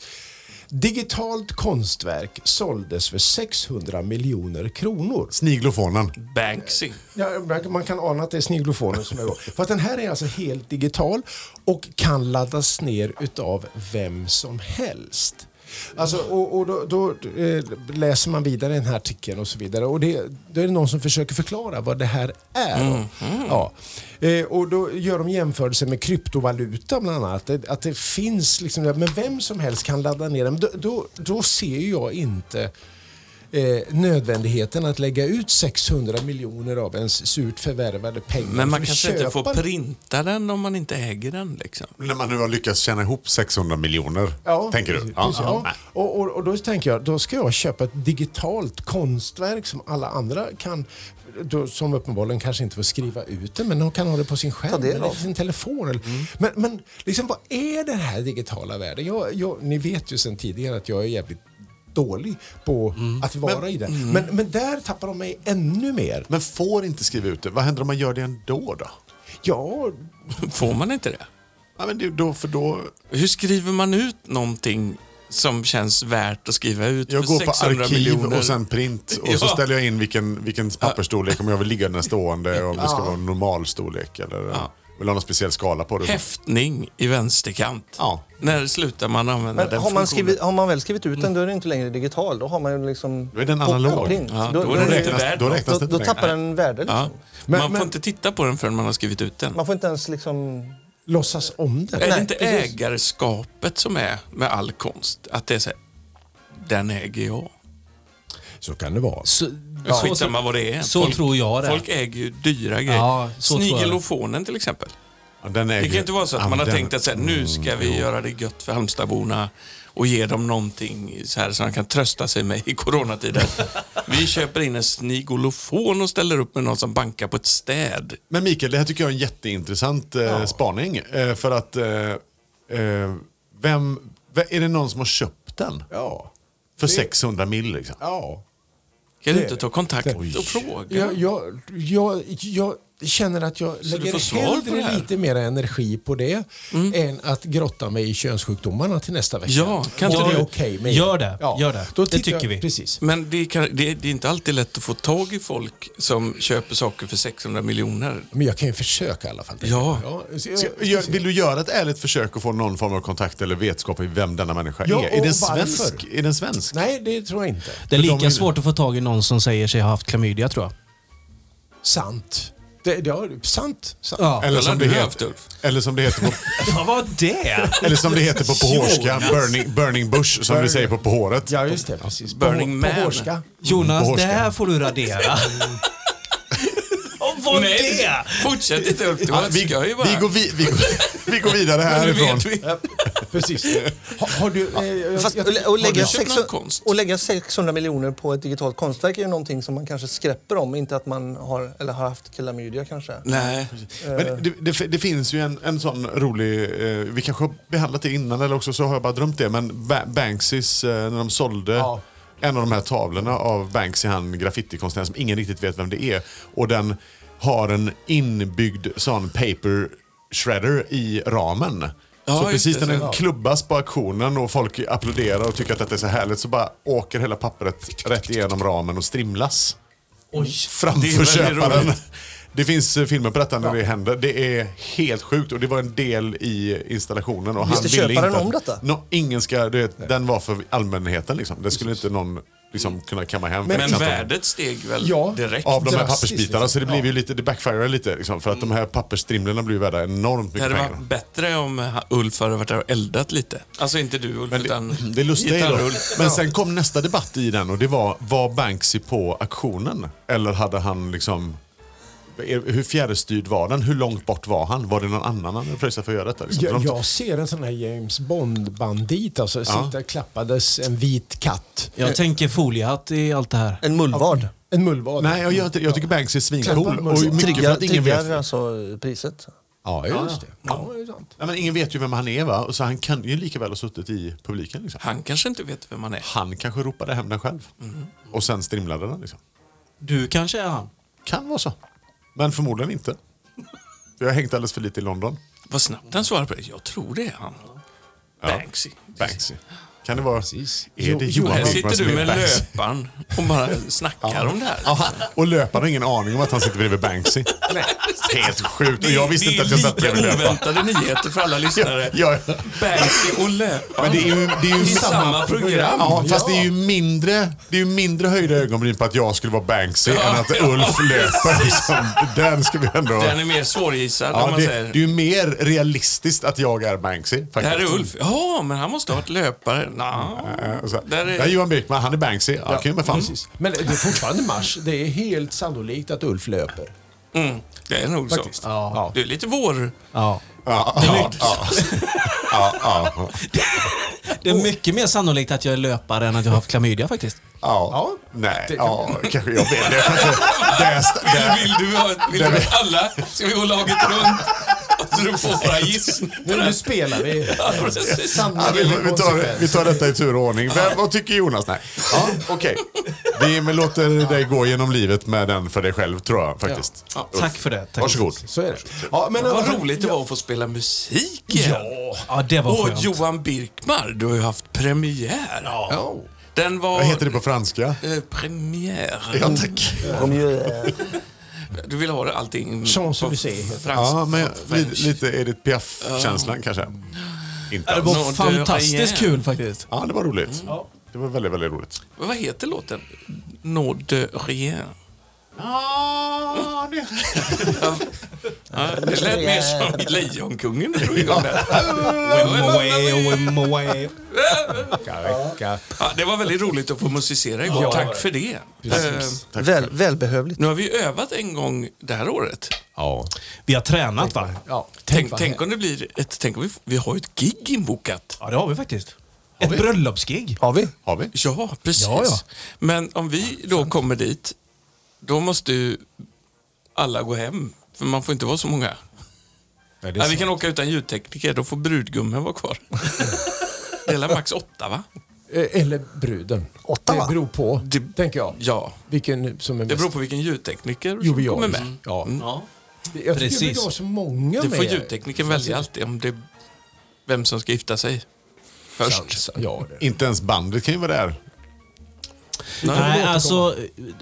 [SPEAKER 5] Digitalt konstverk såldes för 600 miljoner kronor.
[SPEAKER 4] Sniglofonen.
[SPEAKER 2] Banksy.
[SPEAKER 5] Ja, man- man kan ana att det är snigelofonen som är igång. För att den här är alltså helt digital och kan laddas ner utav vem som helst. Alltså, och och då, då eh, läser man vidare i den här artikeln och så vidare. Och det, då är det någon som försöker förklara vad det här är. Ja. Eh, och då gör de jämförelser med kryptovaluta bland annat. Att det, att det finns, liksom, men vem som helst kan ladda ner den. Då, då, då ser ju jag inte eh, nödvändigheten att lägga ut 600 miljoner av ens surt förvärvade pengar.
[SPEAKER 2] Men man
[SPEAKER 5] för
[SPEAKER 2] kanske inte får
[SPEAKER 5] köparen.
[SPEAKER 2] printa den om man inte äger den. Liksom.
[SPEAKER 4] När man nu har lyckats tjäna ihop 600 miljoner,
[SPEAKER 5] Ja,
[SPEAKER 4] tänker du?
[SPEAKER 5] precis, precis, ja. Och, och, och då tänker jag, då ska jag köpa ett digitalt konstverk som alla andra kan, då, som uppenbarligen kanske inte får skriva ut det, men de kan ha det på sin skärm
[SPEAKER 1] del
[SPEAKER 5] eller
[SPEAKER 1] av.
[SPEAKER 5] i sin telefon. Eller,
[SPEAKER 2] Mm.
[SPEAKER 5] Men, men liksom, vad är den här digitala världen? Jag, jag, ni vet ju sedan tidigare att jag är jävligt dålig på
[SPEAKER 2] Mm.
[SPEAKER 5] att vara i den. Men, men där tappar de mig ännu mer.
[SPEAKER 4] Men får inte skriva ut det. Vad händer om man gör det ändå då?
[SPEAKER 5] Ja,
[SPEAKER 2] Får man inte det?
[SPEAKER 4] Ja, men det, då, för då...
[SPEAKER 2] Hur skriver man ut någonting som känns värt att skriva ut
[SPEAKER 4] Jag
[SPEAKER 2] för
[SPEAKER 4] går på
[SPEAKER 2] 600
[SPEAKER 4] arkiv
[SPEAKER 2] miljoner?
[SPEAKER 4] och sen print och
[SPEAKER 2] (laughs)
[SPEAKER 4] så
[SPEAKER 2] Ja.
[SPEAKER 4] ställer jag in vilken, vilken pappersstorlek, om jag vill ligga den stående, om det ska vara en normal storlek eller...
[SPEAKER 2] Ja.
[SPEAKER 4] Vill du ha någon speciell skala på det?
[SPEAKER 2] Häftning i vänsterkant.
[SPEAKER 4] Ja.
[SPEAKER 2] När slutar man använda
[SPEAKER 1] Men
[SPEAKER 2] den
[SPEAKER 1] har
[SPEAKER 2] funktionen?
[SPEAKER 1] man, skrivit, har man väl skrivit ut den, då är det inte längre digital. Då har man ju liksom...
[SPEAKER 4] Då är den
[SPEAKER 1] på-
[SPEAKER 4] analog.
[SPEAKER 1] på print.
[SPEAKER 2] Ja,
[SPEAKER 1] då,
[SPEAKER 2] då
[SPEAKER 1] då,
[SPEAKER 2] är den
[SPEAKER 1] är det-
[SPEAKER 2] inte värd
[SPEAKER 4] Då
[SPEAKER 2] något.
[SPEAKER 4] räknas det
[SPEAKER 1] då,
[SPEAKER 4] inte
[SPEAKER 1] då
[SPEAKER 4] längre.
[SPEAKER 1] tappar den värde. Liksom.
[SPEAKER 2] Ja.
[SPEAKER 5] Men-
[SPEAKER 2] man får
[SPEAKER 5] men-
[SPEAKER 2] inte titta på den förrän man har skrivit ut den.
[SPEAKER 1] Man får inte ens liksom...
[SPEAKER 5] Låtsas om det.
[SPEAKER 2] är det
[SPEAKER 1] nej,
[SPEAKER 2] inte
[SPEAKER 1] precis.
[SPEAKER 2] ägarskapet som är med all konst? Att det är så här, den äger jag.
[SPEAKER 5] Så kan det vara.
[SPEAKER 3] Så,
[SPEAKER 2] Skitsamma vad det är.
[SPEAKER 3] så tror jag det.
[SPEAKER 2] Folk äger ju dyra grejer.
[SPEAKER 3] Ja, så tror jag det.
[SPEAKER 2] Snigelofonen till exempel.
[SPEAKER 4] Ja, den äger-
[SPEAKER 2] Det kan ju inte vara så att
[SPEAKER 4] Ja,
[SPEAKER 2] man har
[SPEAKER 4] den-
[SPEAKER 2] tänkt att så här,
[SPEAKER 4] Mm,
[SPEAKER 2] nu ska vi göra det gött för Halmstadborna och ge dem någonting så här som de kan trösta sig med i
[SPEAKER 4] (laughs)
[SPEAKER 2] coronatider. vi köper in en snigolofon och ställer upp med någon som bankar på ett städ.
[SPEAKER 4] Men Mikael, det här tycker jag är en jätteintressant eh, spaning. Eh, för att, eh, eh, vem, v- är det någon som har köpt den?
[SPEAKER 5] Ja.
[SPEAKER 4] För 600 mil liksom?
[SPEAKER 5] Ja.
[SPEAKER 2] Kan du
[SPEAKER 5] Det-
[SPEAKER 2] inte ta kontakt
[SPEAKER 4] Oj.
[SPEAKER 2] och fråga?
[SPEAKER 5] Jag, jag, jag, jag känner att jag
[SPEAKER 2] får
[SPEAKER 5] lägger
[SPEAKER 2] svar på det
[SPEAKER 5] hellre
[SPEAKER 2] här?
[SPEAKER 5] lite mer energi på det än att grotta mig i könssjukdomarna till nästa vecka.
[SPEAKER 2] Ja, kan inte
[SPEAKER 5] Och det
[SPEAKER 2] du-
[SPEAKER 5] är okej med
[SPEAKER 3] Gör det, gör det.
[SPEAKER 5] Då
[SPEAKER 3] Det
[SPEAKER 5] tittar
[SPEAKER 3] tycker
[SPEAKER 5] jag,
[SPEAKER 3] vi.
[SPEAKER 5] Precis.
[SPEAKER 2] Men det, kan, det, det är inte alltid lätt att få tag i folk som köper saker för 600 miljoner.
[SPEAKER 5] Men jag kan ju försöka i alla fall.
[SPEAKER 2] Ja.
[SPEAKER 5] så
[SPEAKER 4] Ska,
[SPEAKER 5] jag-
[SPEAKER 4] gör, vill du göra ett ärligt försök att få någon form av kontakt eller vetskap i vem denna människa
[SPEAKER 5] Ja,
[SPEAKER 4] är? Är
[SPEAKER 5] och
[SPEAKER 4] den
[SPEAKER 5] varför?
[SPEAKER 4] svensk? Är den svensk?
[SPEAKER 5] Nej, det tror jag inte.
[SPEAKER 3] det är
[SPEAKER 4] de
[SPEAKER 3] lika
[SPEAKER 4] är ju-
[SPEAKER 3] svårt att få tag i någon som säger sig ha haft
[SPEAKER 2] (laughs)
[SPEAKER 3] klamydia tror jag.
[SPEAKER 5] Sant. Det, det har, sant. sant.
[SPEAKER 3] Ja.
[SPEAKER 4] Eller, som
[SPEAKER 2] Kolla,
[SPEAKER 4] det
[SPEAKER 2] du har
[SPEAKER 4] heter,
[SPEAKER 2] haft Ulf.
[SPEAKER 4] eller, som det heter på,
[SPEAKER 5] (laughs)
[SPEAKER 3] Vad var det?
[SPEAKER 4] eller som det heter på pohorska, burning, burning bush som vi säger på pohåret.
[SPEAKER 5] Ja, just det. Precis.
[SPEAKER 2] Burning
[SPEAKER 5] på,
[SPEAKER 2] Man.
[SPEAKER 5] På hårska.
[SPEAKER 3] Jonas,
[SPEAKER 4] På
[SPEAKER 3] det
[SPEAKER 4] hårskan.
[SPEAKER 3] här får
[SPEAKER 2] (laughs)
[SPEAKER 3] du radera. Vad var det?
[SPEAKER 2] Fortsätt inte Ulf, det var
[SPEAKER 4] Ja, vi,
[SPEAKER 2] ett
[SPEAKER 4] vi,
[SPEAKER 2] skoj bara.
[SPEAKER 4] går vi, vi, går- vi går vidare
[SPEAKER 2] Nu
[SPEAKER 4] härifrån.
[SPEAKER 2] vet vi.
[SPEAKER 5] Precis. Har, har du... Eh, jag,
[SPEAKER 1] Fast
[SPEAKER 5] jag,
[SPEAKER 1] att lä- att
[SPEAKER 2] du
[SPEAKER 1] lägga,
[SPEAKER 2] köpt någon
[SPEAKER 1] 600,
[SPEAKER 2] konst?
[SPEAKER 1] att lägga 600 miljoner på ett digitalt konstverk är ju någonting som man kanske skräpper om. Inte att man har, eller har haft klamydia kanske.
[SPEAKER 2] Nej, Eh.
[SPEAKER 4] Men det, det, det finns ju en, en sån rolig, eh, vi kanske har behandlat det innan eller också så har jag bara drömt det, men ba Banksys, eh, när de sålde
[SPEAKER 5] Ja.
[SPEAKER 4] en av de här tavlorna av Banksy, han graffitikonstnären som ingen riktigt vet vem det är. Och den har en inbyggd sån paper shredder i ramen.
[SPEAKER 2] Ja,
[SPEAKER 4] så
[SPEAKER 2] just
[SPEAKER 4] precis
[SPEAKER 2] det,
[SPEAKER 4] när
[SPEAKER 2] så-
[SPEAKER 4] den klubbas på auktionen och folk applåderar och tycker att detta är så härligt så bara åker hela pappret rätt igenom ramen och strimlas
[SPEAKER 2] Det är
[SPEAKER 4] framför
[SPEAKER 2] väldigt
[SPEAKER 4] köparen.
[SPEAKER 2] roligt.
[SPEAKER 4] Det finns eh, filmer på detta när det händer. Det är helt sjukt och det var en del i installationen. Och
[SPEAKER 1] Visste
[SPEAKER 4] han ville
[SPEAKER 1] köparen
[SPEAKER 4] inte att-
[SPEAKER 1] om detta?
[SPEAKER 4] Nå, ingen ska, du vet, den var för allmänheten. Liksom. Det skulle inte någon liksom, kunna kamma hem.
[SPEAKER 2] men
[SPEAKER 4] Knappt
[SPEAKER 2] värdet steg väl
[SPEAKER 5] Ja.
[SPEAKER 2] direkt?
[SPEAKER 4] Av de här
[SPEAKER 5] drastiskt,
[SPEAKER 4] pappersbitarna.
[SPEAKER 5] liksom.
[SPEAKER 4] Så det blev ju lite, det backfirar lite. Liksom, för att de här pappersstrimlorna blir ju värda enormt
[SPEAKER 2] Det
[SPEAKER 4] mycket
[SPEAKER 2] hade
[SPEAKER 4] pengar.
[SPEAKER 2] varit bättre om ha- Ulf hade varit där och eldat lite. Alltså inte du Ulf,
[SPEAKER 4] Men
[SPEAKER 2] utan
[SPEAKER 4] (laughs) det, det lustiga är då,
[SPEAKER 2] gitarr-Ulf.
[SPEAKER 4] Men sen kom nästa debatt i den och det var, var Banksy på auktionen? Eller hade han liksom... Hur fjärrstyrd var den? Hur långt bort var han? Var det någon annan han hade pröjsat för att göra detta? Liksom?
[SPEAKER 5] jag,
[SPEAKER 4] De-
[SPEAKER 5] jag ser en sån här James Bond-bandit. Alltså, Sitta klappades en vit katt.
[SPEAKER 3] Jag tänker foliehatt i allt det här.
[SPEAKER 1] En mullvad.
[SPEAKER 5] En mullvad.
[SPEAKER 4] Nej, jag, gör inte det. jag tycker Banksy är svincool. Och mycket för
[SPEAKER 1] Triggar,
[SPEAKER 4] att ingen vet.
[SPEAKER 1] triggar alltså priset.
[SPEAKER 5] Ja, just det. Ja, det är sant.
[SPEAKER 4] Nej, men ingen vet ju vem han är va? Och Så han kan ju lika väl ha suttit i publiken. Liksom.
[SPEAKER 2] Han kanske inte vet vem han är.
[SPEAKER 4] Han kanske ropade hem den själv. Och sen strimlade den. Liksom.
[SPEAKER 3] Du kanske är han?
[SPEAKER 4] Kan vara så. Men förmodligen inte. Jag har hängt alldeles för lite i London.
[SPEAKER 2] Vad snabbt han svarade på det. Jag tror det är han. Banksy.
[SPEAKER 4] Banksy. Kan det vara... Är det
[SPEAKER 5] Jo,
[SPEAKER 4] Johan
[SPEAKER 2] Här
[SPEAKER 4] Wickman
[SPEAKER 2] sitter
[SPEAKER 4] som
[SPEAKER 2] du
[SPEAKER 4] är
[SPEAKER 2] med
[SPEAKER 4] Banksy?
[SPEAKER 2] löpan och bara snackar om det här.
[SPEAKER 4] Ja, han- och löparen har ingen aning om att han sitter bredvid Banksy. Helt sjukt. Och jag visste inte att jag satt
[SPEAKER 2] Det är
[SPEAKER 4] bredvid
[SPEAKER 2] lika
[SPEAKER 4] löparen.
[SPEAKER 2] oväntade nyheter för alla lyssnare.
[SPEAKER 4] Ja, ja.
[SPEAKER 2] Banksy och löpan.
[SPEAKER 4] Men det är ju, det är ju
[SPEAKER 2] I samma program.
[SPEAKER 4] Ja, fast det är ju mindre, det är ju mindre höjda ögonbryn på att jag skulle vara Banksy än att Ulf löper. Liksom. Den ska vi ändå...
[SPEAKER 2] Den är mer svårgissad om
[SPEAKER 4] Ja,
[SPEAKER 2] man
[SPEAKER 4] det,
[SPEAKER 2] säger.
[SPEAKER 4] det är ju mer realistiskt att jag är Banksy. Faktiskt.
[SPEAKER 2] Det här är Ulf. Ja, men han måste ha varit löpare. Nja.
[SPEAKER 4] Ja, Eh, och så här,
[SPEAKER 2] Där är- Mm.
[SPEAKER 4] "Ja, Johan Birkman, han är Banksy. Ja, kul med fan.
[SPEAKER 5] Men det är fortfarande mars. Det är helt sannolikt att Ulf löper.
[SPEAKER 2] Mm, det är nog så.
[SPEAKER 5] Ja.
[SPEAKER 2] Det är lite vår...
[SPEAKER 3] Ja.
[SPEAKER 4] Ja, ja, ja. Ja, ja,
[SPEAKER 3] Det är mycket mer sannolikt att jag är löpare än att jag har haft klamydia faktiskt.
[SPEAKER 4] ja. Nej, ja, kanske jag vet. Det är inte... Det är, det
[SPEAKER 2] Vill,
[SPEAKER 4] är,
[SPEAKER 2] vill du ha vill du ha alla? Ska vi gå laget runt? Och så du får våra
[SPEAKER 5] Nu, nu
[SPEAKER 2] gissningar.
[SPEAKER 5] spelar vi.
[SPEAKER 2] Ja, precis.
[SPEAKER 4] ja,
[SPEAKER 5] Sanningen
[SPEAKER 4] vi,
[SPEAKER 5] är
[SPEAKER 4] vi, tar, vi
[SPEAKER 5] konsekvent.
[SPEAKER 4] tar detta i tur och ordning. Vem, vad tycker Jonas? Nej. Ja, Okej. Vi men låter dig gå genom livet med den för dig själv, tror jag faktiskt.
[SPEAKER 3] Tack för det. Tack.
[SPEAKER 4] Varsågod.
[SPEAKER 5] Så är det. Ja, men,
[SPEAKER 2] Vad roligt det var att få spela musik igen.
[SPEAKER 3] Ja, ja det var
[SPEAKER 2] Och
[SPEAKER 3] skönt.
[SPEAKER 2] Johan Birkmar, du har ju haft premiär. Ja. Den var...
[SPEAKER 4] Vad heter det på franska?
[SPEAKER 2] Eh, premiär.
[SPEAKER 4] Ja, tack.
[SPEAKER 1] Kom ju, eh,
[SPEAKER 2] Du vill ha allting
[SPEAKER 5] Champs-Élysées heter det.
[SPEAKER 2] fransk-
[SPEAKER 4] Ja, men
[SPEAKER 2] French.
[SPEAKER 4] lite, lite Edith Piaf-känslan kanske. Inte
[SPEAKER 3] Det
[SPEAKER 4] alls.
[SPEAKER 2] Nå,
[SPEAKER 3] var
[SPEAKER 2] du,
[SPEAKER 3] fantastiskt
[SPEAKER 2] igen.
[SPEAKER 3] kul faktiskt.
[SPEAKER 4] Ja, det var roligt. Det var väldigt, väldigt roligt.
[SPEAKER 2] Vad heter låten? No de rien.
[SPEAKER 4] Ah, det...
[SPEAKER 2] Ja, det lät mer som Lejonkungen när du drog igång där. Ja, det var väldigt roligt att få musicera igår. Tack för det. Eh,
[SPEAKER 1] Väl, välbehövligt.
[SPEAKER 2] nu har vi övat en gång det här året.
[SPEAKER 4] ja.
[SPEAKER 3] Vi har tränat va?
[SPEAKER 5] Ja,
[SPEAKER 2] Tänk,
[SPEAKER 5] vad
[SPEAKER 2] tänk om det blir ett... Tänk om vi, vi har ett gig inbokat.
[SPEAKER 3] Ja, det har vi faktiskt. Ett bröllopsgig.
[SPEAKER 1] Har vi?
[SPEAKER 4] Har vi?
[SPEAKER 2] Ja, precis.
[SPEAKER 3] Ja, ja.
[SPEAKER 2] Men om vi då kommer dit, då måste ju alla gå hem. För man får inte vara så många.
[SPEAKER 5] Nej, det är
[SPEAKER 2] Nej, vi
[SPEAKER 5] sant.
[SPEAKER 2] kan åka utan ljudtekniker, då får brudgummen vara
[SPEAKER 5] (laughs)
[SPEAKER 2] kvar. Det är max åtta, va?
[SPEAKER 5] Eh, Eller bruden.
[SPEAKER 1] Åtta,
[SPEAKER 5] det
[SPEAKER 1] va?
[SPEAKER 5] beror på, tänker jag.
[SPEAKER 2] Ja.
[SPEAKER 5] Vilken som är
[SPEAKER 2] Det
[SPEAKER 5] mest.
[SPEAKER 2] beror på vilken ljudtekniker
[SPEAKER 5] Jo,
[SPEAKER 2] som
[SPEAKER 5] vi har
[SPEAKER 2] kommer
[SPEAKER 5] ju-
[SPEAKER 2] med.
[SPEAKER 5] Ja.
[SPEAKER 2] Mm.
[SPEAKER 5] Jag tycker vi
[SPEAKER 3] Precis.
[SPEAKER 5] har så många
[SPEAKER 2] Det
[SPEAKER 5] med.
[SPEAKER 2] får ljudteknikern välja alltid, om det vem som ska gifta sig först.
[SPEAKER 5] Ja, det.
[SPEAKER 4] Inte ens bandet kan ju vara där.
[SPEAKER 3] Nej, alltså,